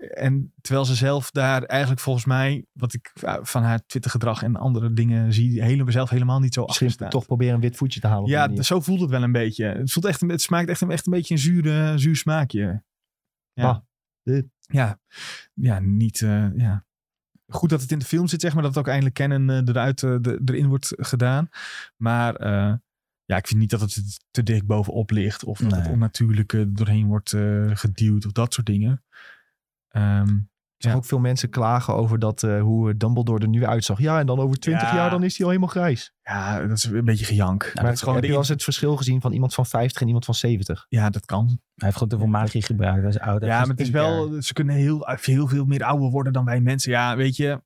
En terwijl ze zelf daar eigenlijk volgens mij... Wat ik va- van haar Twittergedrag en andere dingen zie... Helemaal zelf helemaal niet zo achter Misschien staat. toch proberen een wit voetje te halen. op Ja, dus- die manier. zo voelt het wel een beetje. Het, voelt echt, een- het smaakt echt, een- echt een beetje een zure, zuur smaakje. Ja. Bah. Eh. Ja. Ja, niet... eh, ja. Goed dat het in de film zit, zeg maar. Dat het ook eindelijk kennen eh, eruit, eh, de- erin wordt gedaan. Maar... eh, ja, ik vind niet dat het te dicht bovenop ligt. Of dat het Nee. onnatuurlijke doorheen wordt eh, geduwd. Of dat soort dingen. Ehm, Ik zag Ja. ook veel mensen klagen over dat, eh, hoe Dumbledore er nu uitzag. Ja, en dan over 20 Ja. jaar dan is hij al helemaal grijs. ja, dat is een beetje gejank. maar maar het is Nou, gewoon heb de je wel in- eens het verschil gezien van iemand van 50 en iemand van 70? Ja, dat kan. Hij heeft gewoon te veel magie gebruikt. Hij is oud. hij Ja, heeft maar het is tien jaar. wel... Ze kunnen heel, heel veel meer ouder worden dan wij mensen. Ja, weet je.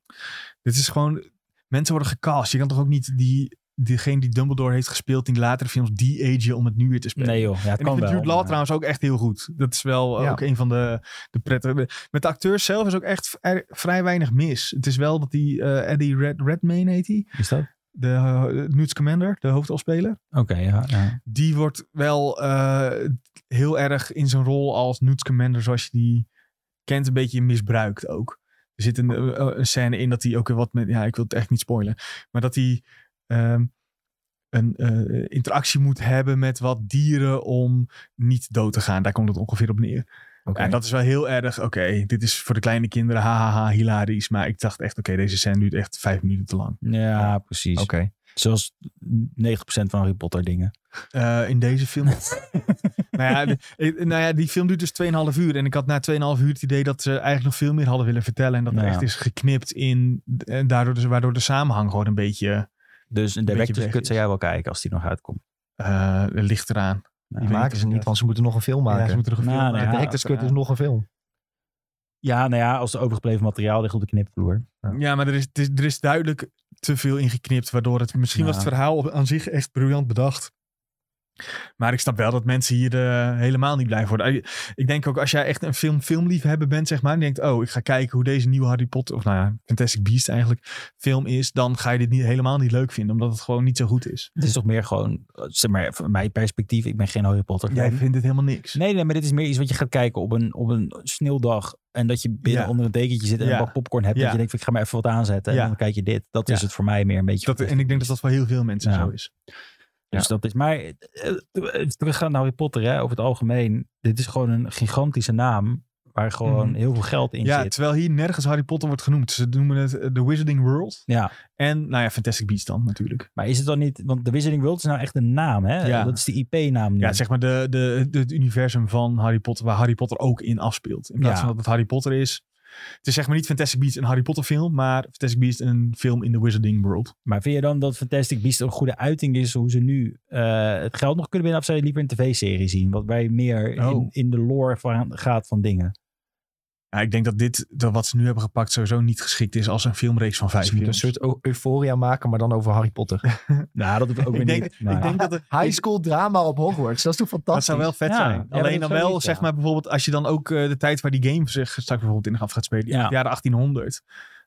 Dit is gewoon... Mensen worden gecast. Je kan toch ook niet die... Diegene die Dumbledore heeft gespeeld in latere films, die age om het nu weer te spelen. Nee joh, ja, het En kan ik vind wel. Jude Law maar- trouwens ook echt heel goed. Dat is wel eh, Ja. ook een van de, de prettige... Met de acteurs zelf is ook echt v- er- vrij weinig mis. Het is wel dat die eh, Eddie Red, Redmayne heet hij. Is dat? De eh, Newt Commander, de hoofdrolspeler. Oké, ja, ja. Die wordt wel eh, heel erg in zijn rol als Newt Commander zoals je die kent een beetje misbruikt ook. Er zit een, eh, eh, een scène in dat hij ook weer wat met... Ja, ik wil het echt niet spoilen. Maar dat hij ehm, een eh, interactie moet hebben met wat dieren om niet dood te gaan. Daar komt het ongeveer op neer. En dat is wel heel erg, oké, dit is voor de kleine kinderen, hahaha, hilarisch. Maar ik dacht echt, oké, deze scène duurt echt vijf minuten te lang. Ja, precies. Oké. Zoals 90% van Harry Potter dingen. Eh, in deze film. nou, ja, de- eh, nou ja, die film duurt dus 2,5 uur. En ik had na 2,5 uur het idee dat ze eigenlijk nog veel meer hadden willen vertellen. En dat er Ja. echt is geknipt in, en daardoor dus, waardoor de samenhang gewoon een beetje Dus een beetje director's weg cut is. zou jij wel kijken als die nog uitkomt. eh, ligt eraan. Die Ik weet maken of ze ik niet, dat- want ze moeten nog een film Ja, maken. ze moeten er een film Nou, nou de ja, maken. Director's Cut is nog een film. Ja, nou ja, als er overgebleven materiaal ligt op de knipvloer. Ja, maar er is, het is- er is duidelijk te veel ingeknipt. Waardoor het misschien was Ja. het verhaal op- aan zich echt briljant bedacht. Maar ik snap wel dat mensen hier eh, helemaal niet blij worden. Eh, Ik denk ook als jij echt een film filmliefhebber bent, zeg maar. En je denkt, oh, ik ga kijken hoe deze nieuwe Harry Potter, of nou ja, Fantastic Beast eigenlijk, film is. Dan ga je dit niet, helemaal niet leuk vinden, omdat het gewoon niet zo goed is. Het is toch meer gewoon, eh, zeg maar, van mijn perspectief, ik ben geen Harry Potter. Jij fan. vindt dit helemaal niks. Nee, nee, maar dit is meer iets wat je gaat kijken op een, op een sneeuwdag. En dat je binnen Ja. onder een dekentje zit en Ja. een bak popcorn hebt. Ja. Dat je denkt, van, ik ga maar even wat aanzetten. Ja. En dan kijk je dit. Dat Ja. is het voor mij meer een beetje. Dat, en ik denk dat dat voor heel veel mensen Ja. zo is. Dus dat is. Maar eh, eh, teruggaan naar Harry Potter, hè, over het algemeen. Dit is gewoon een gigantische naam. Waar gewoon Mhm. heel veel geld in Ja, zit. terwijl hier nergens Harry Potter wordt genoemd. Ze noemen het eh, The Wizarding World. Ja, En, nou ja, Fantastic Beast dan natuurlijk. maar is het dan niet. Want de Wizarding World is nou echt een naam, hè? Ja. Dat is de IP-naam nu. Ja, zeg maar de, de, de- het universum van Harry Potter, waar Harry Potter ook in afspeelt. In plaats Ja. van dat het Harry Potter is. Het is zeg maar niet Fantastic Beasts een Harry Potter film, maar Fantastic Beasts een film in the Wizarding World. Maar vind je dan dat Fantastic Beast een goede uiting is hoe ze nu eh, het geld nog kunnen winnen? Of zou je liever een tv-serie zien? Wat bij meer Oh. in, in de lore van, gaat van dingen. Ja, ik denk dat dit, dat wat ze nu hebben gepakt, sowieso niet geschikt is als een filmreeks van vijf Ze moeten een films. soort eu- euforia maken, maar dan over Harry Potter. Nou, dat hoef ik ook weer ik, denk, niet. maar- ik denk dat het, High school drama op Hogwarts, dat is toch fantastisch? dat zou wel vet Ja, ja, zijn. dat Alleen is dan wel wel, iets, zeg ja. maar bijvoorbeeld, als je dan ook eh, de tijd waar die game zich straks bijvoorbeeld in af gaat spelen, die Ja. jaren 1800.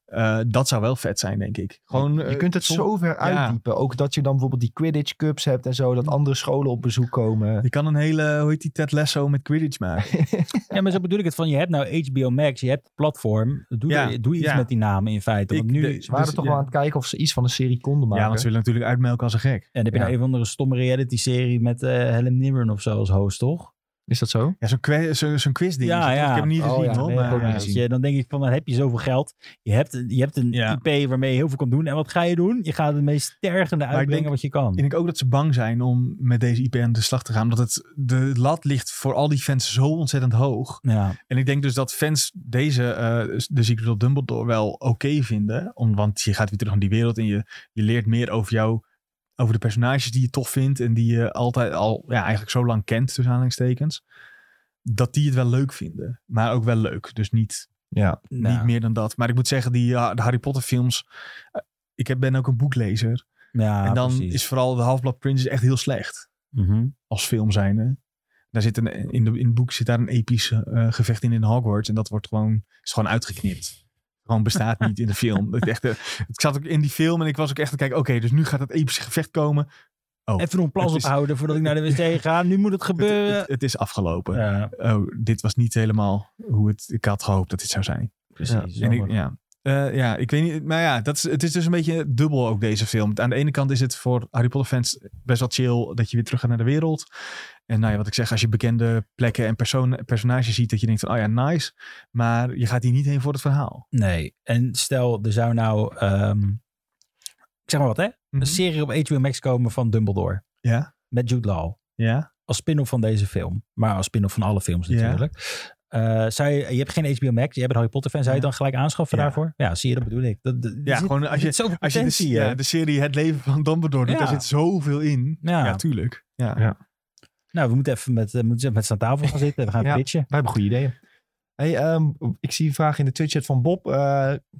eh, dat zou wel vet zijn, denk ik. Gewoon, je eh, kunt het zon- zo ver uitdiepen. Ook dat je dan bijvoorbeeld die Quidditch Cups hebt en zo. Dat andere scholen op bezoek komen. Je kan een hele, hoe heet die, Ted Lasso met Quidditch maken. Ja, maar zo bedoel ik het van, je hebt nou HBO Max, je hebt het platform. Doe, Ja, er- doe iets ja. met die namen in feite. Want Ik- nu, de- Ze waren Dus, toch ja. wel aan het kijken of ze iets van een serie konden maken. Ja, want ze willen natuurlijk uitmelken als een gek. en dan heb je ja. nou een of andere stomme reality serie met eh Helen Mirren of zo als host, toch? Is dat zo? Ja, zo'n que- zo, zo'n quizding. Ja, is het, toch? ja. Ik heb hem niet Oh, gezien, ja, hoor. nee, maar- ik ook niet Ja. Weet je, dan denk ik van, dan heb je zoveel geld. Je hebt, je hebt een Ja. IP waarmee je heel veel kan doen. En wat ga je doen? Je gaat het meest tergende ik uitbrengen denk- wat je kan. Ik denk ook dat ze bang zijn om met deze IP aan de slag te gaan. Omdat het, de lat ligt voor al die fans zo ontzettend hoog. Ja, En ik denk dus dat fans deze, eh, de Secret of Dumbledore, wel oké vinden. Om, want je gaat weer terug naar die wereld en je, je leert meer over jou. Over de personages die je tof vindt en die je altijd al, ja, eigenlijk zo lang kent, tussen aanhalingstekens. Dat die het wel leuk vinden. Maar ook wel leuk. Dus niet Ja. nou, Niet meer dan dat. Maar ik moet zeggen, die ja, de Harry Potter films. eh, ik heb- ben ook een boeklezer. Ja, en dan precies. is vooral de Half-Blood Prince is echt heel slecht. Mhm. Als film zijnde. Daar zit een, in, de, in het boek zit daar een episch eh, gevecht in in Hogwarts. En dat wordt gewoon, is gewoon uitgeknipt. Gewoon bestaat niet in de film. Het echt, eh, ik zat ook in die film en ik was ook echt te kijken. Oké, dus nu gaat dat epische gevecht komen. Oh, Even een plas het is- ophouden voordat ik naar de wc ga. Nu moet het het, gebeuren. het- het is afgelopen. Eh. ja, Oh, dit was niet helemaal hoe het, ik had gehoopt dat dit zou zijn. precies. En ik, Jammer. ja. Eh, ja, ik weet niet. Maar ja, dat is, het is dus een beetje dubbel ook deze film. Aan de ene kant is het voor Harry Potter fans best wel chill dat je weer terug gaat naar de wereld. En nou ja, wat ik zeg, als je bekende plekken en persoon, personages ziet, dat je denkt van, oh ja, nice. Maar je gaat hier niet heen voor het verhaal. Nee, en stel er zou nou, ehm, ik zeg maar wat hè, Mhm. een serie op HBO Max komen van Dumbledore. Ja. Met Jude Law. Ja, Als spin-off van deze film. Maar als spin-off van alle films Ja. natuurlijk. Eh, zou je, je hebt geen HBO Max, je hebt een Harry Potter fan. Zou je Ja. dan gelijk aanschaffen Ja. daarvoor? Ja, zie je, dat bedoel ik. Dat, dat- er ja zit- gewoon als er je, zit zoveel als je de, potentie, hè? ja, de serie Het Leven van Dumbledore doet, Ja. daar zit zoveel in. Ja. Ja, tuurlijk. Ja. Ja. Nou, we moeten even met, eh, moeten met z'n aan tafel gaan zitten. We gaan Ja. pitchen. Wij hebben goede ideeën. Hey, ehm, ik zie een vraag in de Twitch-chat van Bob. Eh,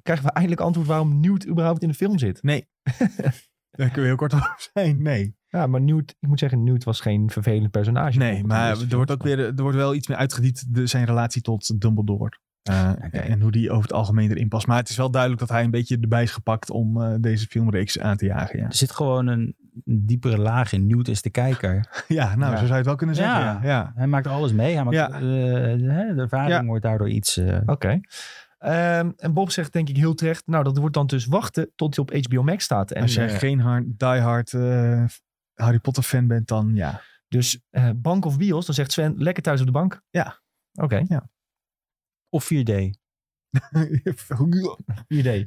krijgen we eindelijk antwoord waarom Newt überhaupt in de film zit? Daar kunnen we heel kort over zijn. Nee. Ja, maar Newt, ik moet zeggen, Newt was geen vervelend personage. Nee, maar er wordt ook weer, er wordt wel iets meer uitgediept de, zijn relatie tot Dumbledore. Eh, Oké. En hoe die over het algemeen erin past. Maar het is wel duidelijk dat hij een beetje erbij is gepakt om eh, deze filmreeks aan te jagen. Ja, Er zit gewoon een diepere laag in. Newt is de kijker. ja nou, Ja. zo zou je het wel kunnen zeggen. Ja. Ja. Ja. Hij maakt alles mee. Hij maakt, Ja. eh, hè, de ervaring Ja. wordt daardoor iets... eh, Oké. Ehm, en Bob zegt denk ik heel terecht, nou dat wordt dan dus wachten tot hij op HBO Max staat. En, Als jij eh, geen hard, diehard eh, Harry Potter fan bent, dan ja. dus eh, bank of bios, dan zegt Sven, lekker thuis op de bank. Ja. Oké, Of 4D. idee.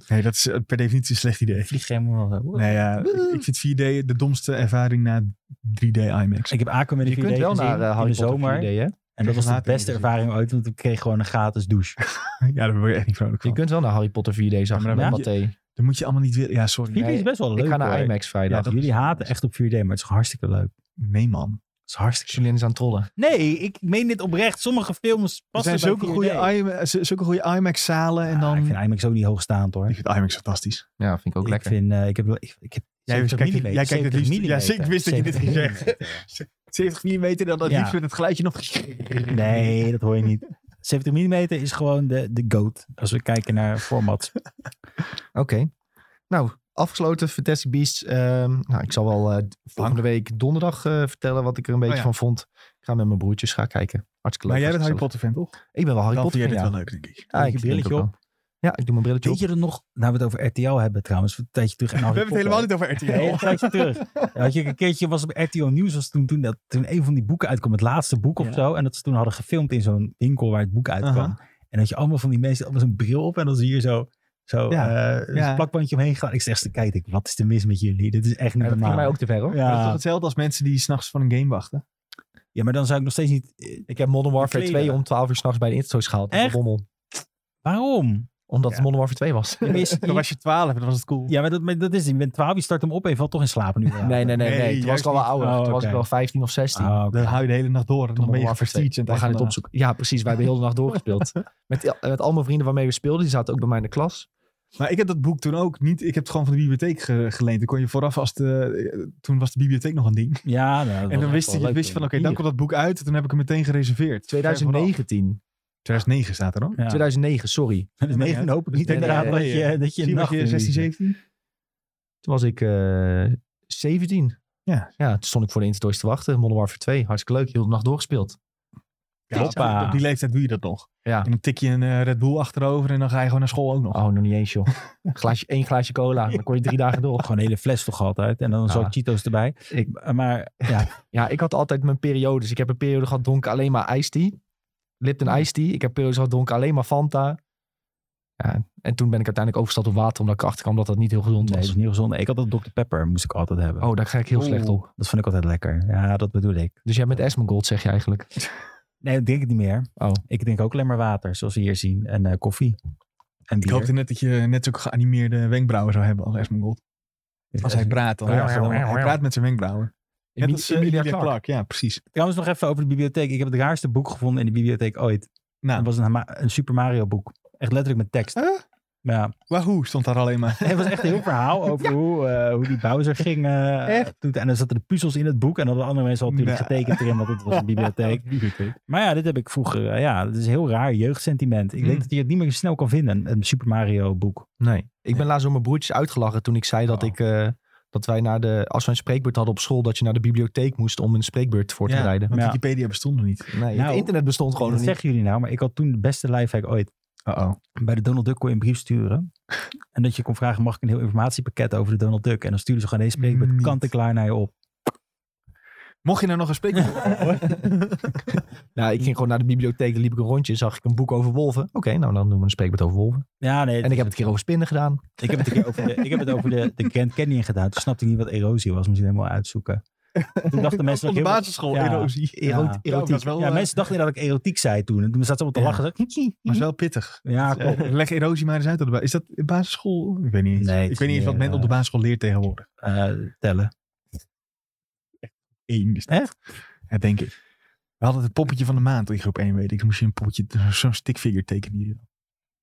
nee, dat is eh, per definitie een slecht idee. Vlieg geen man. Nee, ja, ik, ik vind 4D de domste ervaring na 3D IMAX. Ik heb Aquaman in Je 4D kunt wel gezien naar eh, in Harry de Potter zomer. 4D, hè? En dat was de Later beste gezien. ervaring ooit, want ik kreeg gewoon een gratis douche. ja, daar word je echt niet vrolijk Je van. kunt wel naar Harry Potter 4D, zag Ja, ik bij maar dan- Mathé. Dan moet je allemaal niet weer... Ja, sorry. 4D is best wel leuk Ik ga naar hoor. IMAX Ja, vrijdag. dat- Jullie haten echt op 4D, maar het is gewoon hartstikke leuk. Het Nee, man. is hartstikke Julien is aan het trollen. Nee, ik meen dit oprecht. Sommige films Er passen zijn zulke bij 4D. goede, IMA- z- zulke goede IMAX-zalen. en Ah, dan... ik vind IMAX ook niet hoogstaand hoor. Ik vind IMAX fantastisch. Ja, vind ik ook Ik lekker. vind, eh, ik heb, ik, ik heb Jij 70 kijkt- millimeter, dus jij kijkt het 70 liefst- ja, millimeter, ik wist dat je dit ging 70 zeggen. 70 mm, dan dat Ja. liefst met het geluidje nog... millimeter. Nee, dat hoor je niet. 70 mm is gewoon de, de goat. Als we kijken naar formats. Oké. Nou, afgesloten Fantastic Beasts. Ehm, nou, ik zal wel eh, volgende week donderdag eh, vertellen wat ik er een beetje Oh ja. van vond. Ik ga met mijn broertjes gaan kijken. Hartstikke leuk. Maar jij bent Harry hartstikke Potter fan, toch? gezellig. Ik ben wel Harry Dan Potter. vind jij dit fan, wel ja. leuk, denk ik. Ja, ik Doe je denk brilletje ook op? wel. Ja, ik doe mijn brilletje Weet op. je er nog, nou we het over RTL hebben trouwens, een tijdje terug. en We Harry hebben het helemaal Potter. niet over Nee, RTL. een tijdje terug. Ja, Had je een keertje was op RTL Nieuws was toen, toen, dat, toen een van die boeken uitkwam, het laatste boek of Ja. zo. En dat ze toen hadden gefilmd in zo'n winkel waar het boek uitkwam. Aha. En dat je allemaal van die mensen allemaal zo'n bril op en dan zie je zo, zo Ja, eh, een ja. plakbandje omheen gaan. Ik zeg echt, kijk, ik, wat is er mis met jullie? Dit is echt niet Ja, dat nou. ging mij normaal. ook te ver hoor. Dat is toch Ja. hetzelfde als mensen die s'nachts van een game wachten? ja, maar dan zou ik nog steeds niet... eh, Ik heb Modern Warfare kleren. 2 om 12 uur s'nachts bij de Instos gehaald. Echt? Bommel. Waarom? Omdat Ja. het Modern Warfare 2 was. Ja, maar, je- Dan was je 12 en dan was het cool. ja, maar dat, maar dat is het. Je bent 12, je start hem op en je valt toch in slaap nu. Nee, nee, nee. nee. Nee, Toen was juist ik al wel niet. ouder. Oh, Toen was ik oké. wel 15 of 16. Ah, oké. Dan hou je de hele nacht door en dan eh, Modern ben je Warfare 2. prestige. We gaan het opzoeken. Ja, precies. Wij hebben heel de nacht doorgespeeld. Met, el- met al mijn vrienden waarmee we speelden. Die zaten ook bij mij in de klas. Maar ik heb dat boek toen ook niet... Ik heb het gewoon van de bibliotheek ge- geleend. Dan kon je vooraf als de... eh, Toen was de bibliotheek nog een ding. Ja, nou, dat was En dan echt wist wel je, leuk wist je van, toen. oké, dan Hier. komt dat boek uit. Dan heb ik hem meteen gereserveerd. 2019. 2009 staat er dan. Ja. 2009, sorry. Dus Nee, negen hoop ik niet nee, inderdaad nee, dat nee, je, dat je een Misschien was nacht je in 16, liep. 17? Toen was ik eh 17. Ja. Ja, toen stond ik voor de Intertoys te wachten. Modern Warfare 2. Hartstikke leuk. Heel de nacht doorgespeeld. Hoppa. Op die leeftijd doe je dat nog. Ja. En dan tik je een eh, Red Bull achterover en dan ga je gewoon naar school Ah, ook nog. Oh, nog niet eens, joh. Glaasje, één glaasje cola. Dan kon je drie dagen door. Gewoon een hele fles toch altijd. En dan zo Ja. Cheetos erbij. Eh, Ik- maar ja, Ja, ik had altijd mijn periodes. Ik heb een periode gehad donker alleen maar iced tea. Lipton iced tea. Ik heb periodes gehad donker alleen maar Fanta. Ja, en toen ben ik uiteindelijk overgestapt op water, omdat ik erachter kwam dat dat niet heel gezond nee, dat was. is niet gezond. Ik had dat Dr. Pepper, moest ik altijd hebben. Oh, daar ga ik heel slecht Oeh, op. Dat vond ik altijd lekker. Ja, dat bedoel ik. Dus jij bent Esmergold, zeg je eigenlijk. Nee, ik drink het niet meer. Oh. Ik drink ook alleen maar water, zoals we hier zien. En eh, koffie. En Ik bier. hoopte net dat je net zulke geanimeerde wenkbrauwen zou hebben als Esmond Als hij praat dan. Oh, ja, hij gewoon- hij praat met zijn wenkbrauwen. Net Emi- als eh, Emilia Clarke, Ja, precies. Trouwens nog even over de bibliotheek. Ik heb het raarste boek gevonden in de bibliotheek ooit. Nou. Het was een, Hama- een Super Mario boek. Echt letterlijk met tekst. Huh? Ja. Wahoo stond daar alleen maar. Het was echt een heel verhaal over hoe, eh, hoe die Bowser ging. eh, Echt? doet. En dan zaten de puzzels in het boek. En dan hadden andere mensen al natuurlijk Nou. getekend erin, want het was een bibliotheek. Maar ja, dit heb ik vroeger. eh, ja, dat is een heel raar jeugdsentiment. Ik Mm. denk dat je het niet meer snel kan vinden, een- een Super Mario boek. Nee. Ik ben laatst door mijn broertjes uitgelachen toen ik zei dat Oh. ik... eh, dat wij naar de, als we een spreekbeurt hadden op school, dat je naar de bibliotheek moest om een spreekbeurt voor te Ja, bereiden. want Ja. Wikipedia bestond nog niet. Nee, Nou, het internet bestond gewoon nog Gewoon dat niet. zeggen jullie nou, maar ik had toen de beste lifehack ooit. Uh-oh. Bij de Donald Duck kon je een brief sturen. en dat je kon vragen, mag ik een heel informatiepakket over de Donald Duck? En dan stuurden ze gewoon deze spreekbeurt Niet. kant en klaar naar je op. Mocht je nou nog een spreekwoord Nou, ik ging gewoon naar de bibliotheek, liep ik een rondje, zag ik een boek over wolven. Oké, nou dan doen we een spreekbeurt over wolven. Ja, nee. En ik heb het een keer over spinnen gedaan. Ik heb het een keer over de, ik heb het over de, de Grand Canyon gedaan. Toen snapte ik niet wat erosie was. Moest ik helemaal uitzoeken. Toen dachten mensen op dat de ik heel- basisschool, Ja. erosie. Ja. Erot- Ja, dat erotiek. is wel, Ja, eh, mensen dachten inderdaad dat ik erotiek zei toen. En toen zaten ze allemaal te lachen. Ja. Zo, "Hiep, hiep, Maar hiep." is wel pittig. Eh, Ja, klopt. Leg erosie maar eens uit. op de ba- Is dat basisschool? Ik weet niet eens. Nee, het ik weet is niet eens wat meer, men op de eh, basisschool leert tegenwoordig. Eh, tellen. Eén is Nou, dat. Ja, denk ik. We hadden het poppetje van de maand in groep 1, weet ik. Dan moest je een poppetje, zo'n stickfigure tekenen. hier.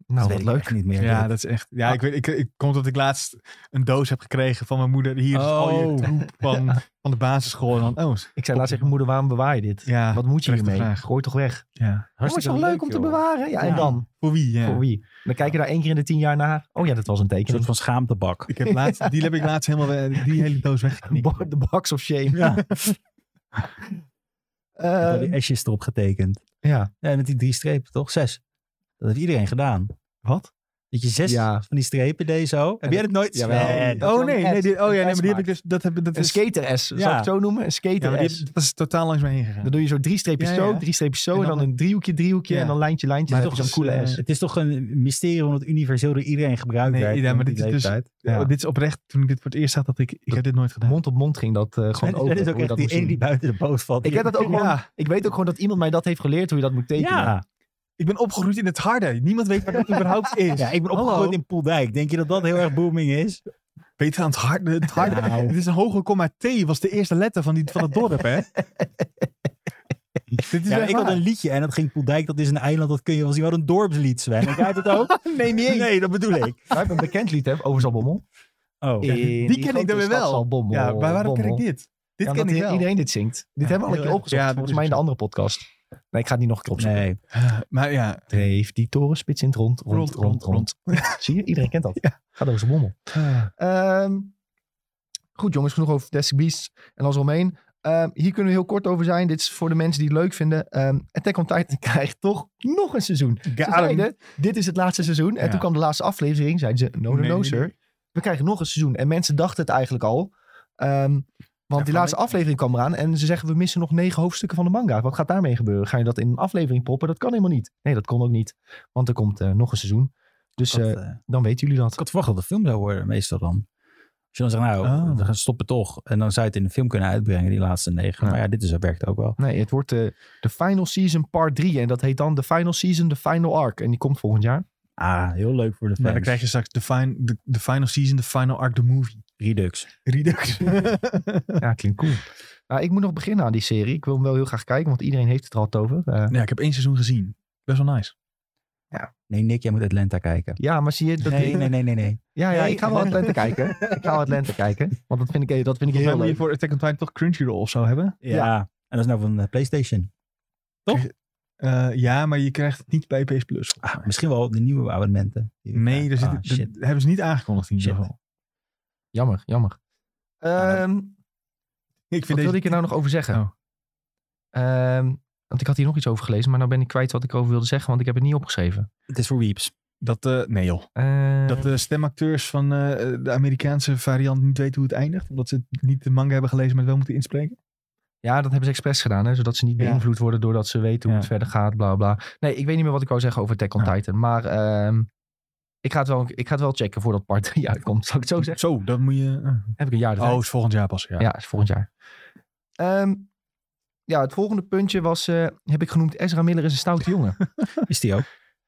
Nou, dat wat weet ik leuk. Oh, echt niet meer. Ja, Ah. dat is echt. Ja, ik weet, ik, ik kom dat ik laatst een doos heb gekregen van mijn moeder. Hier is al Oh. je troep van, van de basisschool. En dan, oh, Ik zei laatst tegen mijn moeder, waarom bewaar je dit? ja, Wat moet je terechte hiermee? vraag. Gooi toch weg. ja. Oh, is toch leuk, om te joh. bewaren? Ja, en Ja. dan? Voor wie? Ja. Voor wie? Dan kijk je daar één keer in de tien jaar naar. Oh ja, dat was een Een soort tekening. van schaamtebak. Ik heb laatst, die heb ik laatst helemaal, we- die hele doos weggeknipt. Bo- De box of shame. Ja. Eh, Met al die esjes erop getekend. ja. Ja, met die drie strepen, toch? Zes. Dat heeft iedereen gedaan. Wat? Dat je zes Ja. van die strepen deed zo. Heb En jij dat- dat nooit? Jawel. Nee. Dat Oh je nee, dan nee, een dit, S- oh ja, een nee, S maar die heb maakt. ik dus, dat heb dat Een is, skater S, zou Ja. ik het zo noemen? Een ja, maar skater die S. heb- dat is totaal langs me heen gegaan. Dan doe je zo drie streepjes Ja, zo, ja. drie streepjes zo. En En dan dan een driehoekje, driehoekje Ja. en dan lijntje, lijntje. Maar en dan heb je toch zo'n coole is, S. Het is toch een mysterie om het universeel door iedereen gebruikt Nee, werd. ja, maar op die dit is dus- leeftijd. Ja. Oh, dit is oprecht, toen ik dit voor het eerst zag, dat ik, ik heb dit nooit gedaan. Mond op mond ging dat eh, gewoon En- over. en is ook hoe je echt dat die moest één doen. die buiten de boot valt. Ik heb dat ook gewoon. Ja. Ik weet ook gewoon dat iemand mij dat heeft geleerd hoe je dat moet tekenen. Ja. Ik ben opgegroeid in het harde. Niemand weet wat dat überhaupt is. ja, ik ben Hallo. opgegroeid in Poeldijk. Denk je dat dat heel erg booming is? Peter aan het harde. Het harde. Nou. Dit is een hoge komma T, was de eerste letter van, die, van het dorp, hè? Dit is Ja, echt ik had waar. een liedje en dat ging Poeldijk, dat is een eiland, dat kun je wel zien. Wat een dorpslied, Sven. Heb jij dat ook? Nee, niet eens. Nee, dat bedoel ik. Wij hebben een bekend lied hè, over Zalbommel. Oh, In die ken grote ik dan weer stad wel. Zalbommel, Ja, maar waarom ken Bommel. ik dit? Dit Ja, ken omdat ik wel. Iedereen dit zingt. Dit hebben we al een keer heel erg. opgezocht. Ja, dat volgens is mij in de ook andere podcast. Nee, ik ga het niet nog een keer opzoeken. nee. Eh, Maar ja, Dreef die torenspits in het rond, rond, rond, rond. Zie je? Iedereen kent dat. Gaat over Zalbommel. Ehm, goed jongens, genoeg over Fantastic Beasts en als omheen. Ehm, hier kunnen we heel kort over zijn. Dit is voor de mensen die het leuk vinden. Ehm Attack on Titan krijgt toch nog een seizoen. Ze zeiden, dit is het laatste seizoen. En Ja. toen kwam de laatste aflevering. Zeiden ze, no, no, Nee, no, nee, sir. nee. We krijgen nog een seizoen. En mensen dachten het eigenlijk al. Ehm, want Ja, die van laatste week. aflevering kwam eraan. En ze zeggen, we missen nog negen hoofdstukken van de manga. Wat gaat daarmee gebeuren? Ga je dat in een aflevering proppen? Dat kan helemaal niet. Nee, dat kon ook niet. Want er komt eh, nog een seizoen. Dus Dat, eh, eh, dan weten jullie Ik dat. had verwacht dat het een film zou worden, meestal dan. Als je dan zegt, nou, Oh. we gaan stoppen toch. En dan zou je het in de film kunnen uitbrengen, die laatste negen. Ja. Maar ja, dit is, werkt ook wel. Nee, het wordt eh, de final season part 3. En dat heet dan de final season, de final arc. En die komt volgend jaar. Ah, heel leuk voor de fans. Maar dan krijg je straks de, fin- de, de final season, de final arc, the movie. Redux. Redux. Ja, klinkt cool. Nou, ik moet nog beginnen aan die serie. Ik wil hem wel heel graag kijken, want iedereen heeft het er al over. Eh, ja, ik heb één seizoen gezien. Best wel nice. Nee, Nick, jij moet Atlanta kijken. ja, maar zie je... Dat Nee, nee, nee, nee, nee. Ja, ja, Nee, ik ga wel nee. Atlanta kijken. Ik ga wel Atlanta kijken. Want dat vind ik, dat vind ik Volgens mij heel moet je leuk. voor Attack on Titan toch Crunchyroll of zo hebben. Ja. En dat is nou van eh, PlayStation. Eh, ja, maar je krijgt het niet bij PS Plus. Ah, misschien wel de nieuwe abonnementen. Die- Nee, daar zit, ah, dat shit. hebben ze niet aangekondigd in ieder Shit. geval. Jammer, jammer. Ja, Ehm, Ik wat wilde ik er nou nog over zeggen? Oh. Ehm, Want ik had hier nog iets over gelezen, maar nou ben ik kwijt wat ik over wilde zeggen, want ik heb het niet opgeschreven. Het is voor Weeps. Dat, eh, nee joh. Eh, Dat de stemacteurs van eh, de Amerikaanse variant niet weten hoe het eindigt. Omdat ze niet de manga hebben gelezen, maar het wel moeten inspreken. Ja, dat hebben ze expres gedaan, hè, zodat ze niet Ja. beïnvloed worden doordat ze weten hoe Ja. het verder gaat, bla bla. Nee, ik weet niet meer wat ik wou zeggen over Attack on Ja. Titan, maar ehm, ik, ga het wel, ik ga het wel checken voordat part 3 uitkomt, zou ik het zo zeggen. Zo, dat moet je... eh, Heb ik een jaar de tijd. oh, is volgend jaar pas. Ja. Ja, is volgend jaar. Ehm, ja, het volgende puntje was, eh, heb ik genoemd, Ezra Miller is een stoute jongen. Is die ook?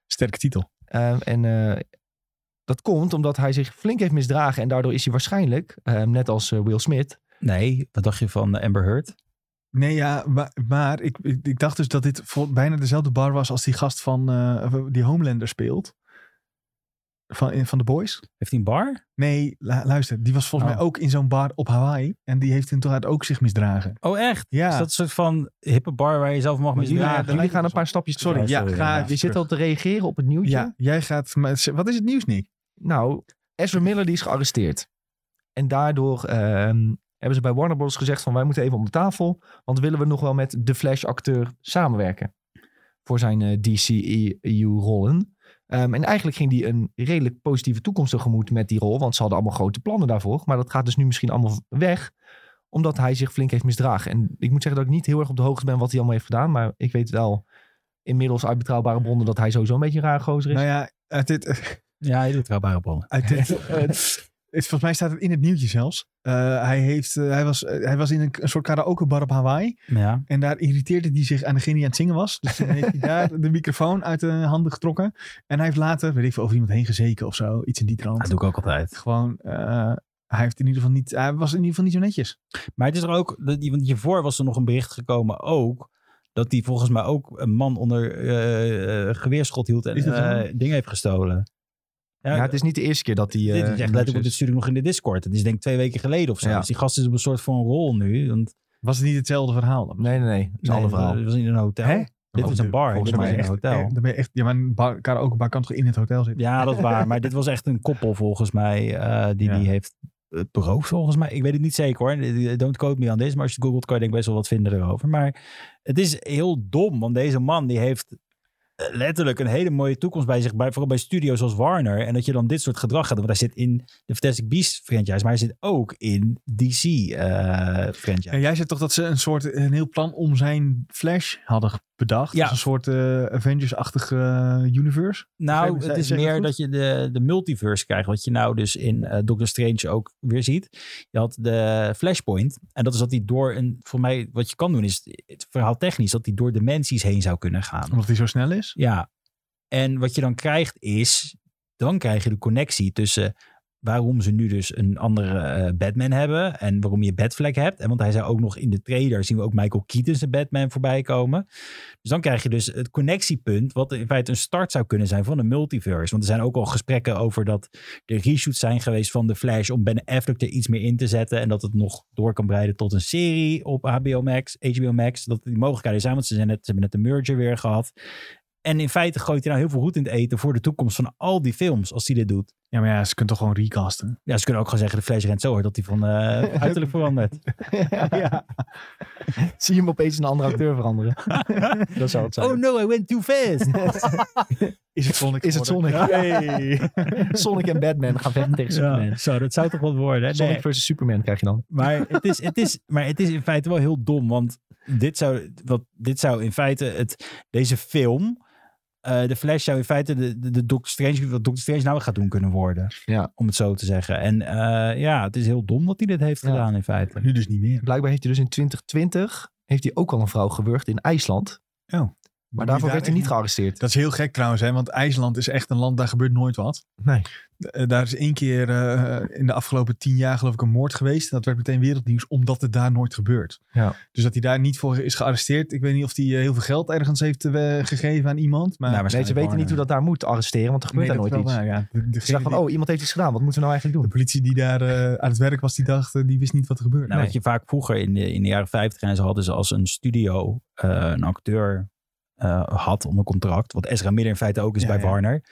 Sterke titel. Ehm, en eh, dat komt omdat hij zich flink heeft misdragen en daardoor is hij waarschijnlijk, ehm, net als eh, Will Smith, Nee, wat dacht je van eh, Amber Heard? Nee, ja, maar, maar ik, ik, ik dacht dus dat dit vol- bijna dezelfde bar was als die gast van... eh, die Homelander speelt. Van, in- van The Boys. Heeft hij een bar? Nee, lu- luister. Die was volgens Oh. mij ook in zo'n bar op Hawaii. En die heeft toen toch uit ook zich misdragen. Oh, echt? Ja. Is dat een soort van hippe bar waar je zelf mag Maar jullie- misdragen? Ja, jullie lijkt gaan me een zo. paar stapjes terug. Sorry, ja, sorry, ga ja. even Je zit terug. al te reageren op het nieuwtje. Ja, jij gaat... Maar, wat is het nieuws, Nick? Nou, Ezra Miller die is gearresteerd. En daardoor ehm, hebben ze bij Warner Bros. gezegd van wij moeten even om de tafel. Want willen we nog wel met de Flash-acteur samenwerken. Voor zijn eh DCEU-rollen. Ehm, en eigenlijk ging die een redelijk positieve toekomst tegemoet met die rol. Want ze hadden allemaal grote plannen daarvoor. Maar dat gaat dus nu misschien allemaal weg. Omdat hij zich flink heeft misdragen. En ik moet zeggen dat ik niet heel erg op de hoogte ben wat hij allemaal heeft gedaan. Maar ik weet wel inmiddels uit betrouwbare bronnen dat hij sowieso een beetje een raar gozer is. Nou ja, uit dit... Ja, je doet trouwbare ballen. Uit dit, eh, het- volgens mij staat het in het nieuwtje zelfs. Eh, hij, heeft, eh, hij, was, eh, hij was in een, een soort karaokebar op Hawaii. Ja. En daar irriteerde hij zich aan degene die aan het zingen was. Dus toen heeft hij daar de microfoon uit de handen getrokken. En hij heeft later, weet ik veel, over iemand heen gezeken of zo. Iets in die trant. Dat doe ik ook altijd. Gewoon, eh, hij, heeft in ieder geval niet, hij was in ieder geval niet zo netjes. Maar het is er ook, dat- want hiervoor was er nog een bericht gekomen ook, dat hij volgens mij ook een man onder eh, eh, geweerschot hield en Is dat zo? eh, dingen heeft gestolen. Ja, Ja, het is niet de eerste keer dat hij... dit is eh, echt letterlijk, want dit stuurde ik nog in de Discord. Het is denk ik twee weken geleden of zo. Ja. Dus die gast is op een soort van rol nu. Want, Was het niet hetzelfde verhaal? dan? Nee, nee, nee. Dat is een ander verhaal. Het was in een hotel. Hè? Dit Oh, is een bar, volgens dit was mij in een echt- hotel. eh, Dan ben je echt, ja, maar een bar, karaokebar kan toch in het hotel zitten? Ja, dat is waar. Maar dit was echt een koppel volgens mij. eh, die Ja. die heeft eh, beroofd volgens mij. Ik weet het niet zeker hoor. Don't quote me on this. Maar als je het googelt kan je denk ik best wel wat vinden erover. Maar het is heel dom. Want deze man die heeft eh, letterlijk een hele mooie toekomst bij zich. Bij, vooral bij studios als Warner. En dat je dan dit soort gedrag gaat doen. Want hij zit in de Fantastic Beasts franchise. Maar hij zit ook in DC eh, franchise. En jij zei toch dat ze een soort een heel plan om zijn Flash hadden bedacht? Ja. Als een soort eh, Avengers-achtig eh, universe? Nou, Begrijp- het is zeg ik dat meer dat goed? je de, de multiverse krijgt. Wat je nou dus in eh, Doctor Strange ook weer ziet. Je had de Flashpoint. En dat is dat hij door een... Voor mij, wat je kan doen is... Het verhaal technisch, dat hij door dimensies heen zou kunnen gaan. Omdat hij zo snel is? Ja. En wat je dan krijgt is... Dan krijg je de connectie tussen... Waarom ze nu dus een andere eh, Batman hebben. En waarom je Batfleck hebt. En want hij zei ook nog in de trailer... Zien we ook Michael Keaton's Batman voorbij komen. Dus dan krijg je dus het connectiepunt, wat in feite een start zou kunnen zijn van een multiverse. Want er zijn ook al gesprekken over dat er reshoots zijn geweest van The Flash om Ben Affleck er iets meer in te zetten. En dat het nog door kan breiden tot een serie op HBO Max, HBO Max. Dat die mogelijkheden zijn, want ze, zijn net, ze hebben net de merger weer gehad. En in feite gooit hij nou heel veel roet in het eten voor de toekomst van al die films als hij dit doet. Ja, maar ja, ze kunnen toch gewoon recasten? Ja, ze kunnen ook gewoon zeggen, de Flash rent zo hard dat hij van eh, uiterlijk verandert. ja. Zie je hem opeens in een andere acteur veranderen. dat zou het zijn. Oh no, I went too fast. Is het Sonic? Is het geworden? Sonic? Hey. Sonic en Batman gaan vechten tegen Superman. Ja, zo, dat zou toch wat worden. hè? Sonic versus Superman krijg je dan. Maar het, is, het is, maar het is in feite wel heel dom. Want dit zou, wat, dit zou in feite het, deze film. eh, de Flash zou in feite de, de, de Doctor Strange, wat Doctor Strange nou gaat doen kunnen worden. Ja. Om het zo te zeggen. En eh, ja, het is heel dom dat hij dit heeft Ja. gedaan in feite. Maar nu dus niet meer. Blijkbaar heeft hij dus in 2020 heeft hij ook al een vrouw gewurgd in Oh. IJsland. Maar, Maar daarvoor werd hij niet echt- gearresteerd. Dat is heel gek trouwens, hè? want IJsland is echt een land, daar gebeurt nooit wat. Nee. Eh, daar is één keer eh, in de afgelopen tien jaar geloof ik een moord geweest. Dat werd meteen wereldnieuws, omdat het daar nooit gebeurt. Ja. Dus dat hij daar niet voor is gearresteerd. Ik weet niet of hij eh, heel veel geld ergens heeft eh, gegeven aan iemand. Maar Nou, Nee, ze weten niet hoe dat daar moet arresteren, want er gebeurt daar nooit iets. Waar, ja. De, Ze dachten van, oh, iemand heeft iets gedaan. Wat moeten we nou eigenlijk De doen? politie die daar eh, aan het werk was, die dacht, eh, die wist niet wat er gebeurde. Nou, Nee. wat je vaak vroeger in de, in de jaren 50 en zo hadden ze als een studio eh, een acteur eh, had onder contract. Wat Ezra Miller in feite ook is Ja, bij ja. Warner.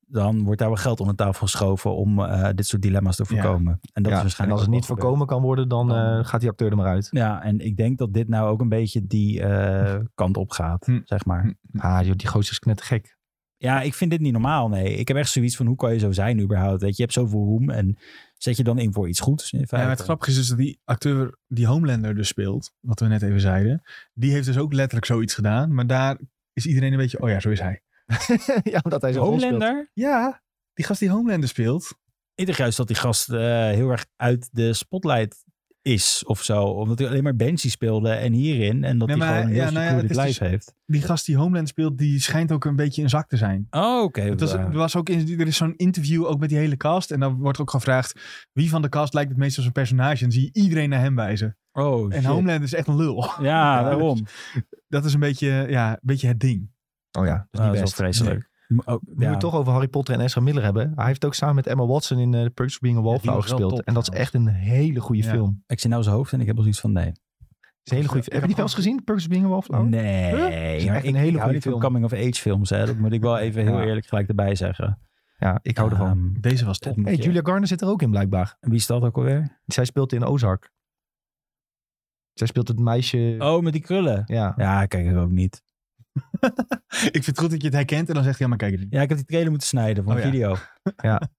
dan wordt daar wel geld onder tafel geschoven om eh, dit soort dilemma's te voorkomen. En dat Ja, is en waarschijnlijk als het ook niet wel gebeurd. voorkomen kan worden, dan eh, gaat die acteur er maar uit. Ja, en ik denk dat dit nou ook een beetje die eh, kant op gaat, Hm. zeg maar. Ah, joh, die gozer is knettergek. Ja, ik vind dit niet normaal, nee. Ik heb echt zoiets van, hoe kan je zo zijn überhaupt? Weet je, je hebt zoveel roem en zet je dan in voor iets goeds. In Ja, maar het feite. grappige is dus dat die acteur die Homelander dus speelt, wat we net even zeiden, die heeft dus ook letterlijk zoiets gedaan. Maar daar is iedereen een beetje, oh ja, zo is hij. ja, omdat hij zo Homelander? Ja, die gast die Homelander speelt. Ik dacht juist dat die gast eh, heel erg uit de spotlight is of zo. Omdat hij alleen maar Banshee speelde en hierin. En dat Nee, hij maar gewoon een ja, heel nou ja, secure het dit is lijf dus- heeft. Die gast die Homeland speelt, die schijnt ook een beetje een zak te zijn. Oh, oké. Het was, er, was ook in, er is zo'n interview ook met die hele cast. En dan wordt ook gevraagd wie van de cast lijkt het meest op zijn personage. En zie je iedereen naar hem wijzen. oh, shit. En Homeland is echt een lul. Ja, daarom. Dat is een beetje, ja, een beetje het ding. Oh ja, dat is niet Ah, dat is wel best. vreselijk. Mo- oh, We moeten het toch over Harry Potter en Ezra Miller hebben. Hij heeft ook samen met Emma Watson in eh, The Perks of Being a die Wallflower was wel gespeeld. top en dat is echt een hele goede Ja. film. Ik zie nou zijn hoofd en ik heb al zoiets van nee. Het is een hele goede Ik film. Heb je die wel heb eens gezien, The Perks of Being a Wallflower? Nee. Is maar echt ik, een hele ik hou goede niet van film. coming of age films. Hè. Dat moet ik wel even heel Ja. eerlijk gelijk erbij zeggen. Ja, ik hou ervan. Ehm, Deze was dat top. moet hey, je- Julia Garner zit er ook in blijkbaar. Wie is dat ook alweer? Zij speelt in Ozark. Zij speelt het meisje... Oh, met die krullen. Ja. Ja, ik kijk er ook niet. Ik vind het goed dat je het herkent. En dan zegt hij, ja, maar kijk het niet. Ja, ik heb die trailer moeten snijden van Oh, ja. video.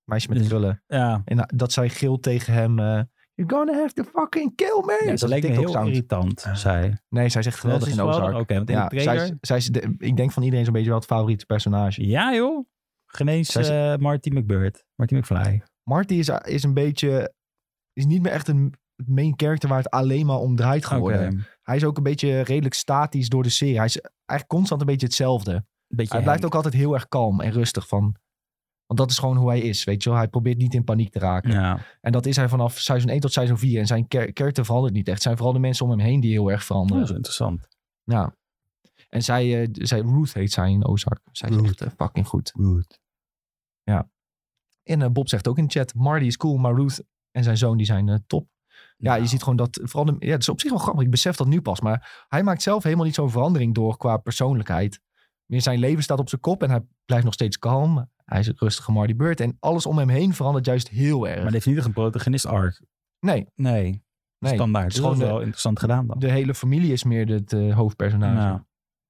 meisje met Dus- krullen. Ja, En eh, dat zij gilt tegen hem... eh, You're gonna have to fucking kill me! ja dat ze is leek me heel TikTok-sound. irritant, zei. Nee, zij zegt geweldig Ja, in ze is geweldig. Ozark. Oké, want in Ja, de zij, trailer... is- zij is de- ik denk van iedereen zo'n beetje wel het favoriete personage. Ja, joh. Geen eens Zij is- eh, Marty McBird. Marty McFly. Marty is, is een beetje... Is niet meer echt een main character waar het alleen maar om draait geworden. Oké. Hij is ook een beetje redelijk statisch door de serie. Hij is eigenlijk constant een beetje hetzelfde. Beetje hij blijft ook altijd heel erg kalm en rustig van... Want dat is gewoon hoe hij is, weet je wel. Hij probeert niet in paniek te raken. Ja. Oh, En dat is hij vanaf seizoen 1 tot seizoen 4. En zijn char- character verandert niet echt. Het zijn vooral de mensen om hem heen die heel erg Oh, veranderen. dat is interessant. Ja. En zij, eh, d- zij, Ruth heet zij in Ozark. Zij is Ruth. echt eh, fucking goed. En eh, Bob zegt ook in de chat, Marty is cool, maar Ruth en zijn zoon die zijn eh, top. Ja, Nou, je ziet gewoon dat, vooral de, ja, het is op zich wel grappig. Ik besef dat nu pas, maar hij maakt zelf helemaal niet zo'n verandering door qua persoonlijkheid. Meer zijn leven staat op zijn kop en hij blijft nog steeds kalm. Hij is een rustige Marty Bird en alles om hem heen verandert juist heel erg. Maar dit heeft niet echt een protagonist arc. nee, Nee, nee. standaard. het Dus is dat gewoon is wel interessant gedaan dan. De hele familie is meer het eh, hoofdpersonage. Ja.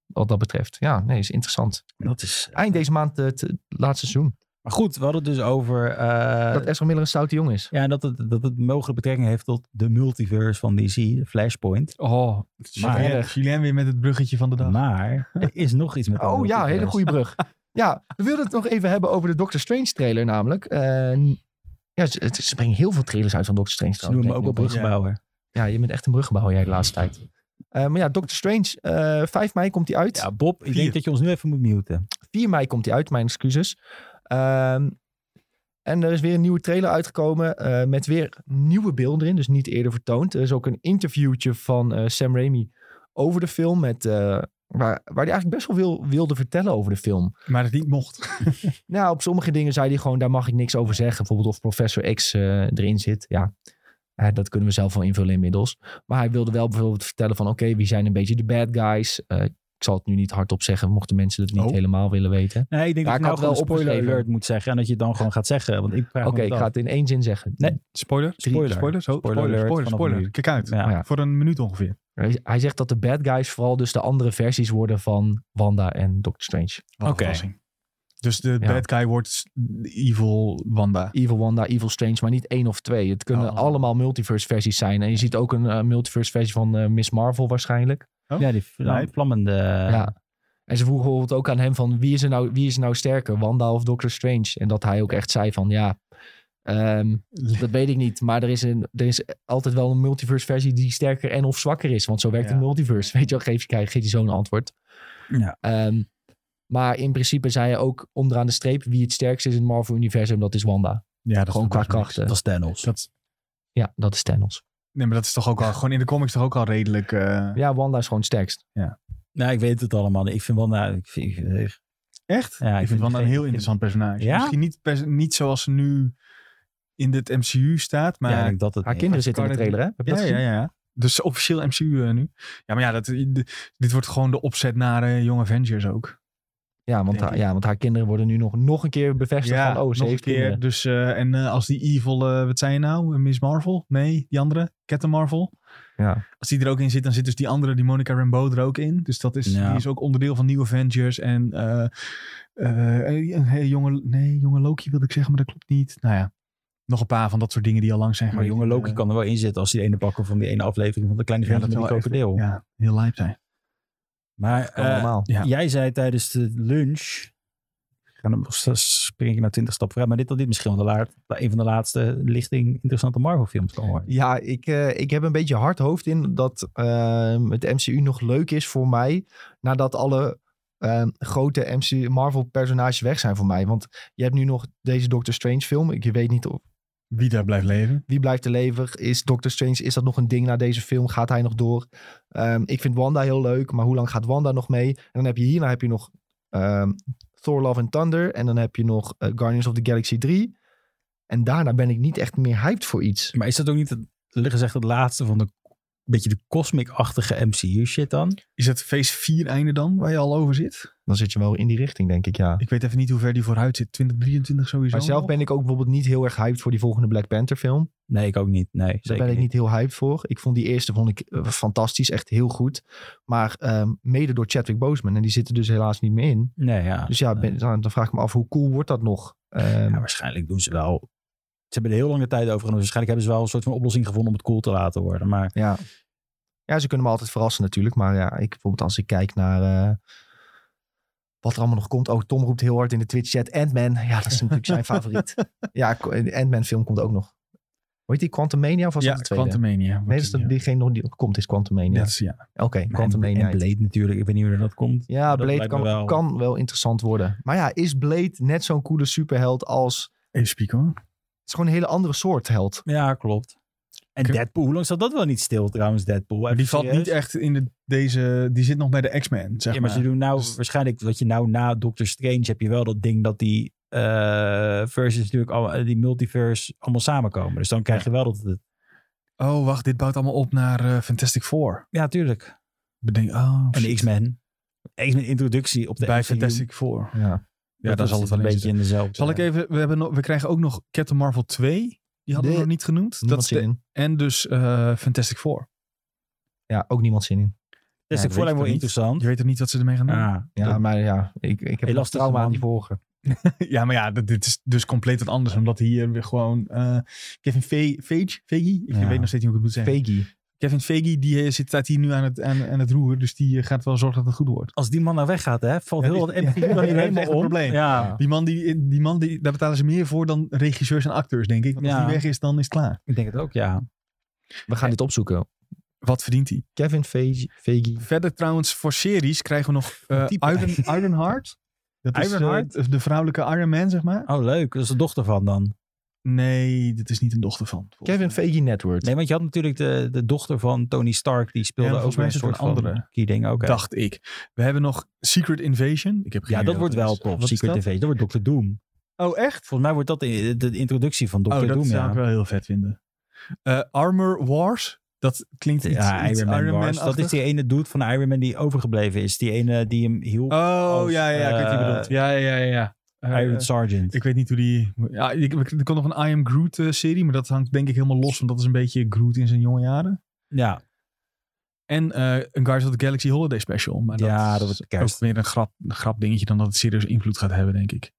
Wat dat betreft. Ja, nee, is interessant. Dat is... Eind deze maand eh, het laatste seizoen. Maar goed, we hadden het dus over... eh, dat Ezra Miller een stoute jongen is. Ja, en dat het, dat het mogelijk betrekking heeft tot de multiverse van DC, Flashpoint. Oh, Maar- Julien, Julien weer met het bruggetje van de dag. Maar er is nog iets met de Oh ja, multiverse. hele goede brug. ja, we wilden het nog even hebben over de Doctor Strange trailer namelijk. Eh, ja, ze, het- ze brengen heel veel trailers uit van Doctor Strange. Ze noemen trouwens, hem ook wel merk ik nu bruggebouwer. opeens. Ja, je bent echt een bruggebouwer jij de laatste tijd. Eh, maar ja, Doctor Strange, eh 5 mei komt die uit. Ja, Bob, ik Vier. denk dat je ons nu even moet muten. 4 mei komt die uit, mijn excuses. Ehm, en er is weer een nieuwe trailer uitgekomen eh, met weer nieuwe beelden erin, dus niet eerder vertoond. Er is ook een interviewtje van eh, Sam Raimi over de film, met, eh, waar, waar hij eigenlijk best wel veel wilde vertellen over de film. Maar het niet mocht. Nou, op sommige dingen zei hij gewoon, daar mag ik niks over zeggen. Bijvoorbeeld of Professor X eh, erin zit. Ja, Eh, dat kunnen we zelf wel invullen inmiddels. Maar hij wilde wel bijvoorbeeld vertellen van, oké, wie zijn een beetje de bad guys? Eh, ik zal het nu niet hardop zeggen, mochten mensen het niet Oh. helemaal willen weten. Nee, ik denk Ja, dat je ik nou had gewoon wel spoiler opgeschreven. alert moet zeggen. En dat je het dan gewoon gaat zeggen. Want ik vraag Oké, me dat ik af. ga het in één zin zeggen. Nee. Spoiler. Spoiler. Spoiler. Zo, Spoiler spoiler. Spoiler. alert Spoiler. vanaf nu. Kijk uit. Ja. Ja. Voor een minuut ongeveer. Hij- Hij zegt dat de bad guys vooral dus de andere versies worden van Wanda en Doctor Strange. Wat een Oké. verrassing. Dus de Ja. bad guy wordt s- de evil Wanda. Evil Wanda, Evil Strange, maar niet één of twee. Het kunnen Oh. allemaal multiverse versies zijn. En je ziet ook een eh, multiverse versie van eh, Miss Marvel waarschijnlijk. Ja, die vlam- Nee. vlammende... Ja. En ze vroegen bijvoorbeeld ook aan hem van wie is er nou, wie is er nou sterker, Wanda of Doctor Strange? En dat hij ook echt zei van ja, ehm, dat weet ik niet. Maar er is, een, er is altijd wel een multiverse versie die sterker en of zwakker is. Want zo werkt Ja. een multiverse. Weet je wel, geef, krijg, geef je zo'n antwoord. Ja. Ehm, maar in principe zei hij ook onderaan de streep wie het sterkst is in het Marvel Universum, dat is Wanda. Ja, dat Gewoon is qua niks. krachten. Dat is Thanos. Dat, Ja, dat is Thanos. nee, maar dat is toch ook al... Gewoon in de comics toch ook al redelijk... eh, Ja, Wanda is gewoon het sterkst. Nou, ik weet het allemaal. niet. Ik vind wel... Nou, ik vind, ik- Echt? Ja, ik ik, vind vind het Wanda een geen- heel interessant personage. Ja? Misschien niet, pers- niet zoals ze nu in dit MCU staat, maar... ja, ik denk dat het Haar niet. kinderen zitten in de Scarlet- trailer, hè? Heb je dat Ja, gezien? ja, ja. Dus officieel MCU eh, nu. Ja, maar ja, dat, d- dit wordt gewoon de opzet naar eh Young Avengers ook. Ja want, Denk haar, ik. ja, want haar kinderen worden nu nog, nog een keer bevestigd Ja, van, oh, ze nog een heeft keer. kinderen. Dus, eh, en eh, als die evil, eh, wat zei je nou? Miss Marvel? Nee, die andere? Captain Marvel? Ja. Als die er ook in zit, dan zit dus die andere, die Monica Rambeau, er ook in. Dus dat is, Ja. die is ook onderdeel van New Avengers. En eh, eh, een hele jonge, nee, jonge Loki wilde ik zeggen, maar dat klopt niet. Nou ja, nog een paar van dat soort dingen die al lang zijn Maar geweest. jonge Loki Eh, kan er wel in zitten als hij de ene bakker van die ene aflevering van de kleine Ja, vriendje dat met die wel krokodil. ja, heel lijp zijn. Maar Kan eh, allemaal. Ja. jij zei tijdens de lunch, ik ga dan spring ik naar twintig stappen vooruit, maar dit dat dit misschien wel de laat, een van de laatste lichting interessante Marvel films kan worden. Ja, ik, eh, ik heb een beetje hard hoofd in dat ehm, het MCU nog leuk is voor mij. Nadat alle ehm, grote MC Marvel personages weg zijn voor mij. Want je hebt nu nog deze Doctor Strange film. Ik weet niet of, Wie daar blijft leven. wie blijft er leven. Is Doctor Strange, is dat nog een ding na deze film? Gaat hij nog door? Ehm, ik vind Wanda heel leuk, maar hoe lang gaat Wanda nog mee? En dan heb je hierna heb je nog ehm, Thor Love and Thunder. En dan heb je nog eh, Guardians of the Galaxy 3. En daarna ben ik niet echt meer hyped voor iets. Maar is dat ook niet, het, eerlijk gezegd, het laatste van de beetje de cosmic-achtige MCU shit dan? Is dat phase 4 einde dan, waar je al over zit? Dan zit je wel in die richting, denk ik, ja. Ik weet even niet hoe ver die vooruit zit. 2023 sowieso Maar zelf nog? ben ik ook bijvoorbeeld niet heel erg hyped voor die volgende Black Panther film. Dus Nee, ik ook niet. Nee, Daar zeker ben ik niet. niet heel hyped voor. Ik vond die eerste vond ik, eh, fantastisch, echt heel goed. Maar ehm, mede door Chadwick Boseman. En die zit er dus helaas niet meer in. Nee, ja. Dus ja, ben- dan, dan vraag ik me af, hoe cool wordt dat nog? Ehm, Ah, eh. Ja, waarschijnlijk doen ze wel. Ze hebben er heel lange tijd over gedaan. Dus waarschijnlijk hebben ze wel een soort van oplossing gevonden om het cool te laten worden. Maar ja. ja, ze kunnen me altijd verrassen natuurlijk. Maar ja, ik bijvoorbeeld als ik kijk naar eh, wat er allemaal nog komt. Oh, Tom roept heel hard in de Twitch-chat Ant-Man. Ja, dat is natuurlijk zijn favoriet. Ja, de Ant-Man film komt ook nog. Hoe heet die? Quantumania of was ja, dat de tweede? Quantumania. wordt Nee, dat die, is dat- ja. diegene nog die komt is Quantumania. Dat is- ja. Oké, en, Quantumania. en Blade natuurlijk. Ik weet niet hoe dat komt. Ja, Blade dat lijkt me kan wel. wel. kan wel interessant worden. Maar ja, is Blade net zo'n coole superheld als... Even spieken hoor. Het is gewoon een hele andere soort held. Ja, klopt. En Kun- Deadpool, hoe lang zat dat wel niet stil trouwens, Deadpool? Maar die valt Serieus? niet echt in de, deze... Die zit nog bij de X-Men, zeg Ja, maar maar. ze doen nou Dus- waarschijnlijk wat je nou na Doctor Strange heb je wel dat ding dat die eh versus natuurlijk al, die multiverse allemaal samenkomen. Dus dan krijg je wel dat het. Oh, wacht. Dit bouwt allemaal op naar eh, Fantastic Four. Ja, tuurlijk. Bedenk, oh, En de shit. X-Men. X-Men introductie op de Bij MCU. Fantastic Four. Ja. Ja, daar zal het wel wel een in beetje in dezelfde. Zal ik even... We, hebben nog, we krijgen ook nog Captain Marvel 2. Die hadden we De- nog niet genoemd. Dat Niemand is zin de- in. en dus eh, Fantastic Four. Ja, ook niemand zin in. Dus Ja, ik vond dat het wel weet ik interessant. Je weet er niet wat ze ermee gaan doen. Ja, Ja, maar ja, ik, ik heb nog lastige trauma man. aan die vorige. Ja, maar ja, dit- dit is dus compleet wat anders. Omdat hier weer gewoon... eh, Kevin Fe- Feige? Feige? Ik Ja. weet nog steeds niet hoe ik het moet zeggen. Peggy. Kevin Feige, die eh, zit, staat hier nu aan het, aan, aan het roer. Dus die eh, gaat wel zorgen dat het goed wordt. als die man nou weggaat, hè, valt Ja, heel die- wat MCU ja, dan dat is hier echt helemaal een om. probleem. Ja, Ja. Die man, die, die man die, daar betalen ze meer voor dan regisseurs en acteurs, denk ik. Want als Ja. die weg is, dan is het klaar. ik denk het ook, ja. We gaan dit opzoeken. Wat verdient hij? Kevin Feige. Feige. Verder trouwens, voor series krijgen we nog eh Type. Iron, Ironheart. Dat is Ironheart? eh, de vrouwelijke Iron Man, zeg maar. Oh, leuk. Dat is de dochter van dan. Nee, dit is niet een dochter van. volgens Kevin mij. Feige Network. Nee, want je had natuurlijk de, de dochter van Tony Stark. Die speelde Ja, ook volgens weer mij een is het soort een andere. van ding. Oké. Dacht ik. We hebben nog Secret Invasion. Ik heb geen Ja, idee dat wat wordt wel is. tof. Wat is Secret dat? Invasion. Dat wordt Doctor Doom. Oh, echt? Volgens mij wordt dat de, de introductie van Doctor oh, dat Doom, zou ja. ik wel heel vet vinden. Eh, Armor Wars. Dat klinkt iets, Ja, iets Iron Man Wars. Dat is Man-achtig. die ene dude van Iron Man die overgebleven is. Die ene die hem hielp. Oh, als, ja, ja, ja, ik weet wie je eh, bedoelt. Ja, ja, ja, ja. Eh, Iron Sergeant. Ik weet niet hoe die... Ja, ik, er komt nog een I Am Groot eh, serie, maar dat hangt denk ik helemaal los. Want dat is een beetje Groot in zijn jonge jaren. ja, En eh, een Guardians of the Galaxy Holiday Special. Maar dat Ja, is dat wordt kerst. ook meer een grap, een grap dingetje dan dat het serieus invloed gaat hebben, denk ik.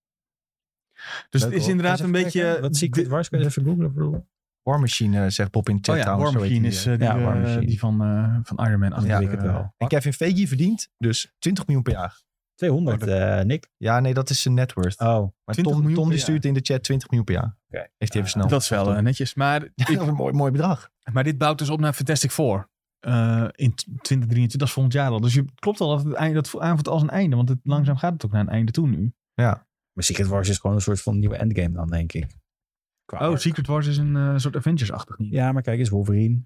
Dus Leuk, het is hoor. inderdaad Eens een even beetje... eh, kijken. Wat Secret dit- Wars? Kun je even googlen? Bro? War Machine, eh, zegt Pop in de chat Oh ja, trouwens, War zo heet Machine die, is eh. eh, die, Ja, War eh, Machine. die van, eh, van Iron Man. Ja, achter, ik het eh, wel. En Kevin Feige verdient dus 20 miljoen per jaar. Oh, 200, eh, Nick. Ja, nee, dat is zijn net worth. Oh. maar 20 Tom, miljoen Tom per die jaar. stuurt in de chat 20 miljoen per jaar. Oké. Heeft hij even snel. Dat is wel eh, netjes. Maar, Ja, dat is een mooi, mooi bedrag. maar dit bouwt dus op naar Fantastic Four. eh, in t- 2023, dat is volgend jaar al. Dus je klopt al dat het einde, dat aanvoelt als een einde. Want het, langzaam gaat het ook naar een einde toe nu. Maar Secret Wars is gewoon een soort van nieuwe endgame dan, denk ik. Qua Oh, arc. Secret Wars is een eh, soort Avengers-achtig niet. Ja, maar kijk eens, Wolverine.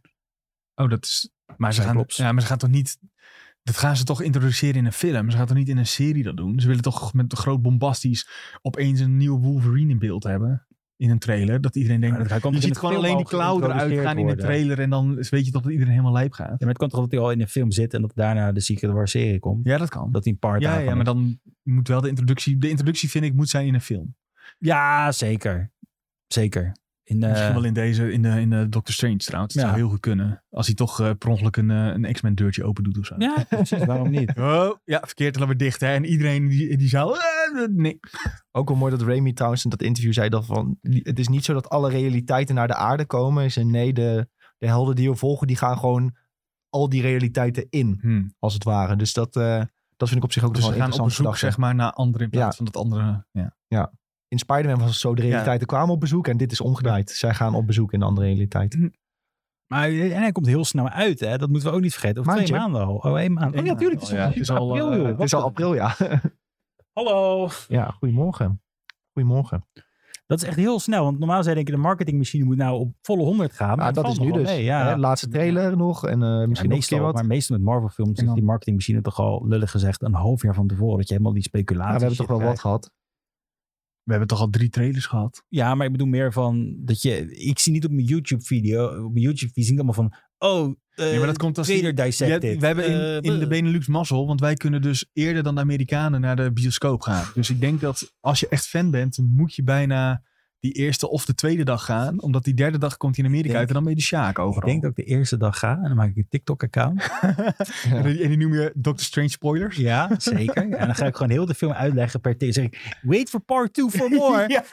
Oh, dat is. Maar ze, gaan, Cyclops. ja, maar ze gaan toch niet. Dat gaan ze toch introduceren in een film. Ze gaan toch niet in een serie dat doen. Ze willen toch met een groot bombastisch opeens een nieuwe Wolverine in beeld hebben. In een trailer. Dat iedereen denkt. Maar dat kan je toch in ziet een gewoon film alleen al die klauw eruit geïntroduceerd gaan in de worden? trailer. En dan weet je toch dat iedereen helemaal lijp gaat. Ja, maar het kan toch dat hij al in een film zit en dat daarna de Secret Wars serie komt? Ja, dat kan. Dat hij een part ja, daarvan ja, maar is. dan je moet wel de introductie... De introductie vind ik moet zijn in een film. Ja, zeker. Zeker. In, eh, Misschien wel in deze, in de, in de Doctor Strange trouwens. Dat Ja. zou heel goed kunnen. Als hij toch eh, per ongeluk een, eh, een X-Men deurtje open doet of zo. Ja, precies. Waarom niet? Oh, ja, verkeerd dan weer dicht. Hè? En iedereen in die, in die zaal... eh, nee. Ook wel mooi dat Raimi trouwens in dat interview zei dat van... Het is niet zo dat alle realiteiten naar de aarde komen. Hij zei nee, de, de helden die we volgen, die gaan gewoon al die realiteiten in, Hm. als het ware. Dus dat, eh, dat vind ik op zich ook Dus nog we wel een gaan interessante op bezoek gedachte. zeg maar, naar anderen in plaats Ja. van dat andere... Ja. In Spider-Man was het zo, de realiteiten kwamen op bezoek en dit is omgedraaid. Zij gaan op bezoek in een andere realiteit. Maar, eh, en hij komt heel snel uit, hè? Dat moeten we ook niet vergeten. Of Maandje. twee maanden al. Oh, één maand. Oh, ja, natuurlijk. Het is, Ja, al, het is al, april, eh, joh. het Het is al Wat- april, ja. Hallo. Ja, goedemorgen. Goedemorgen. Dat is echt heel snel. Want normaal zou je denken, de marketingmachine moet nou op volle 100 gaan. Maar Maar dat het is valt nu nog dus. wel mee, ja. Hè, laatste trailer nog en eh, misschien Maar nog een keer meestal, wat. maar meestal met Marvel films En is dan- die marketingmachine toch al, lullig gezegd, een half jaar van tevoren. Dat je helemaal die Ja, speculatie we hebben shit toch wel wat krijgt. gehad. We hebben toch al drie trailers gehad? Ja, maar ik bedoel meer van, dat je, ik zie niet op mijn YouTube video, op mijn YouTube video zie ik allemaal van, oh, eh Nee, maar dat komt als die- trailer Ja, dissected. we hebben in, Eh, in de Benelux mazzel, want wij kunnen dus eerder dan de Amerikanen naar de bioscoop gaan. Dus ik denk dat als je echt fan bent, moet je bijna die eerste of de tweede dag gaan. Omdat die derde dag komt hij in Amerika Denk- uit en dan ben je de Sjaak Ik overal. denk dat ik de eerste dag ga en dan maak ik een TikTok-account. en, die, en die noem je Doctor Strange spoilers. Ja, zeker. En dan ga ik gewoon heel de film uitleggen per tik. Zeg ik, wait for part 2 for more. Ja,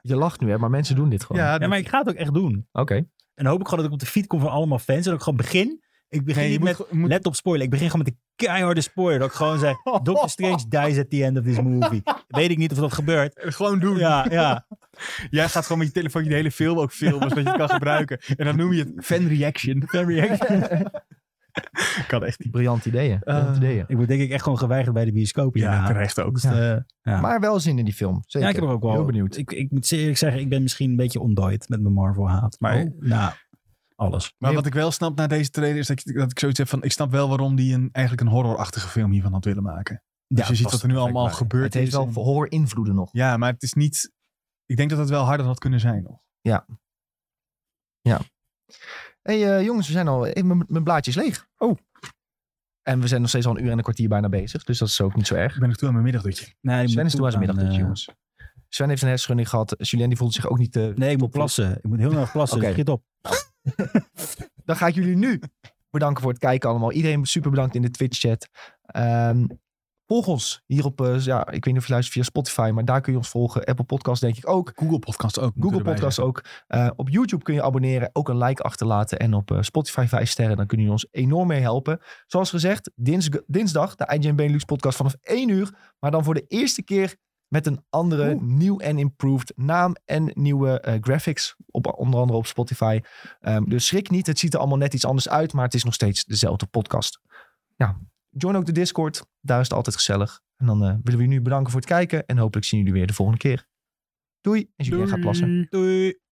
Je lacht nu, hè, maar mensen doen dit gewoon. ja, Ja, maar ik ga het ook echt doen. Oké. En dan hoop ik gewoon dat ik op de feed kom van allemaal fans. En dat ik gewoon begin. Ik begin nee, je niet moet, met, ge- moet- let op spoiler. Ik begin gewoon met de keiharde spoiler. Dat ik gewoon zeg, Doctor Strange dies at the end of this movie. Weet ik niet of dat gebeurt. gewoon doen. Ja, ja. Jij gaat gewoon met je telefoon de hele film ook filmen, zodat je het kan gebruiken. En dan noem je het fan reaction. Dan react- Kan echt niet. Briljant ideeën. Briljant Eh, ideeën. ik word denk ik echt gewoon geweigerd bij de bioscoop Ja, hierna. terecht ook. Dus, eh, Ja, Maar wel zin in die film. Zeker. ik heb er ook wel. Heel benieuwd. Ik, ik moet eerlijk zeggen, ik ben misschien een beetje ondooid met mijn Marvel haat. Maar Oh. nou, alles. Maar Nee. wat ik wel snap na deze trailer is dat ik, dat ik zoiets heb van... Ik snap wel waarom die een, eigenlijk een horrorachtige film hiervan had willen maken. Dus je ziet wat er nu allemaal gebeurt. Het heeft is wel en- horror invloeden nog. Ja, maar het is niet... Ik denk dat het wel harder had kunnen zijn nog. hey, eh, jongens, we zijn al... eh, Mijn mijn blaadje is leeg. Oh. En we zijn nog steeds al een uur en een kwartier bijna bezig. Dus dat is ook niet zo erg. Ik ben nog toe aan mijn middagdutje. Nee, ik Sven moet is toen aan zijn aan, middagdutje, eh, jongens. Sven heeft een hersenschudding gehad. Julien die voelde zich ook niet... eh, Nee, ik moet plassen. Ik moet heel erg plassen. Oké. Dus schiet op. Dan ga ik jullie nu bedanken voor het kijken allemaal. Iedereen super bedankt in de Twitch-chat. Ehm, volg ons hier op... eh, ja, ik weet niet of je luistert via Spotify, maar daar kun je ons volgen. Apple Podcast denk ik ook. Google Podcast ook. Google Podcast ook. Eh, op YouTube kun je abonneren, ook een like achterlaten. En op eh, Spotify 5 sterren, dan kunnen jullie ons enorm mee helpen. Zoals gezegd, dins- dinsdag de IGN Benelux podcast vanaf 1 uur. Maar dan voor de eerste keer met een andere, nieuw en improved naam en nieuwe eh, graphics. Op, onder andere op Spotify. Ehm, dus schrik niet, het ziet er allemaal net iets anders uit. Maar het is nog steeds dezelfde podcast. Nou, join ook de Discord. Daar is het altijd gezellig. En dan eh, willen we jullie nu bedanken voor het kijken. En hopelijk zien jullie weer de volgende keer. Doei, en jullie gaan plassen. Doei.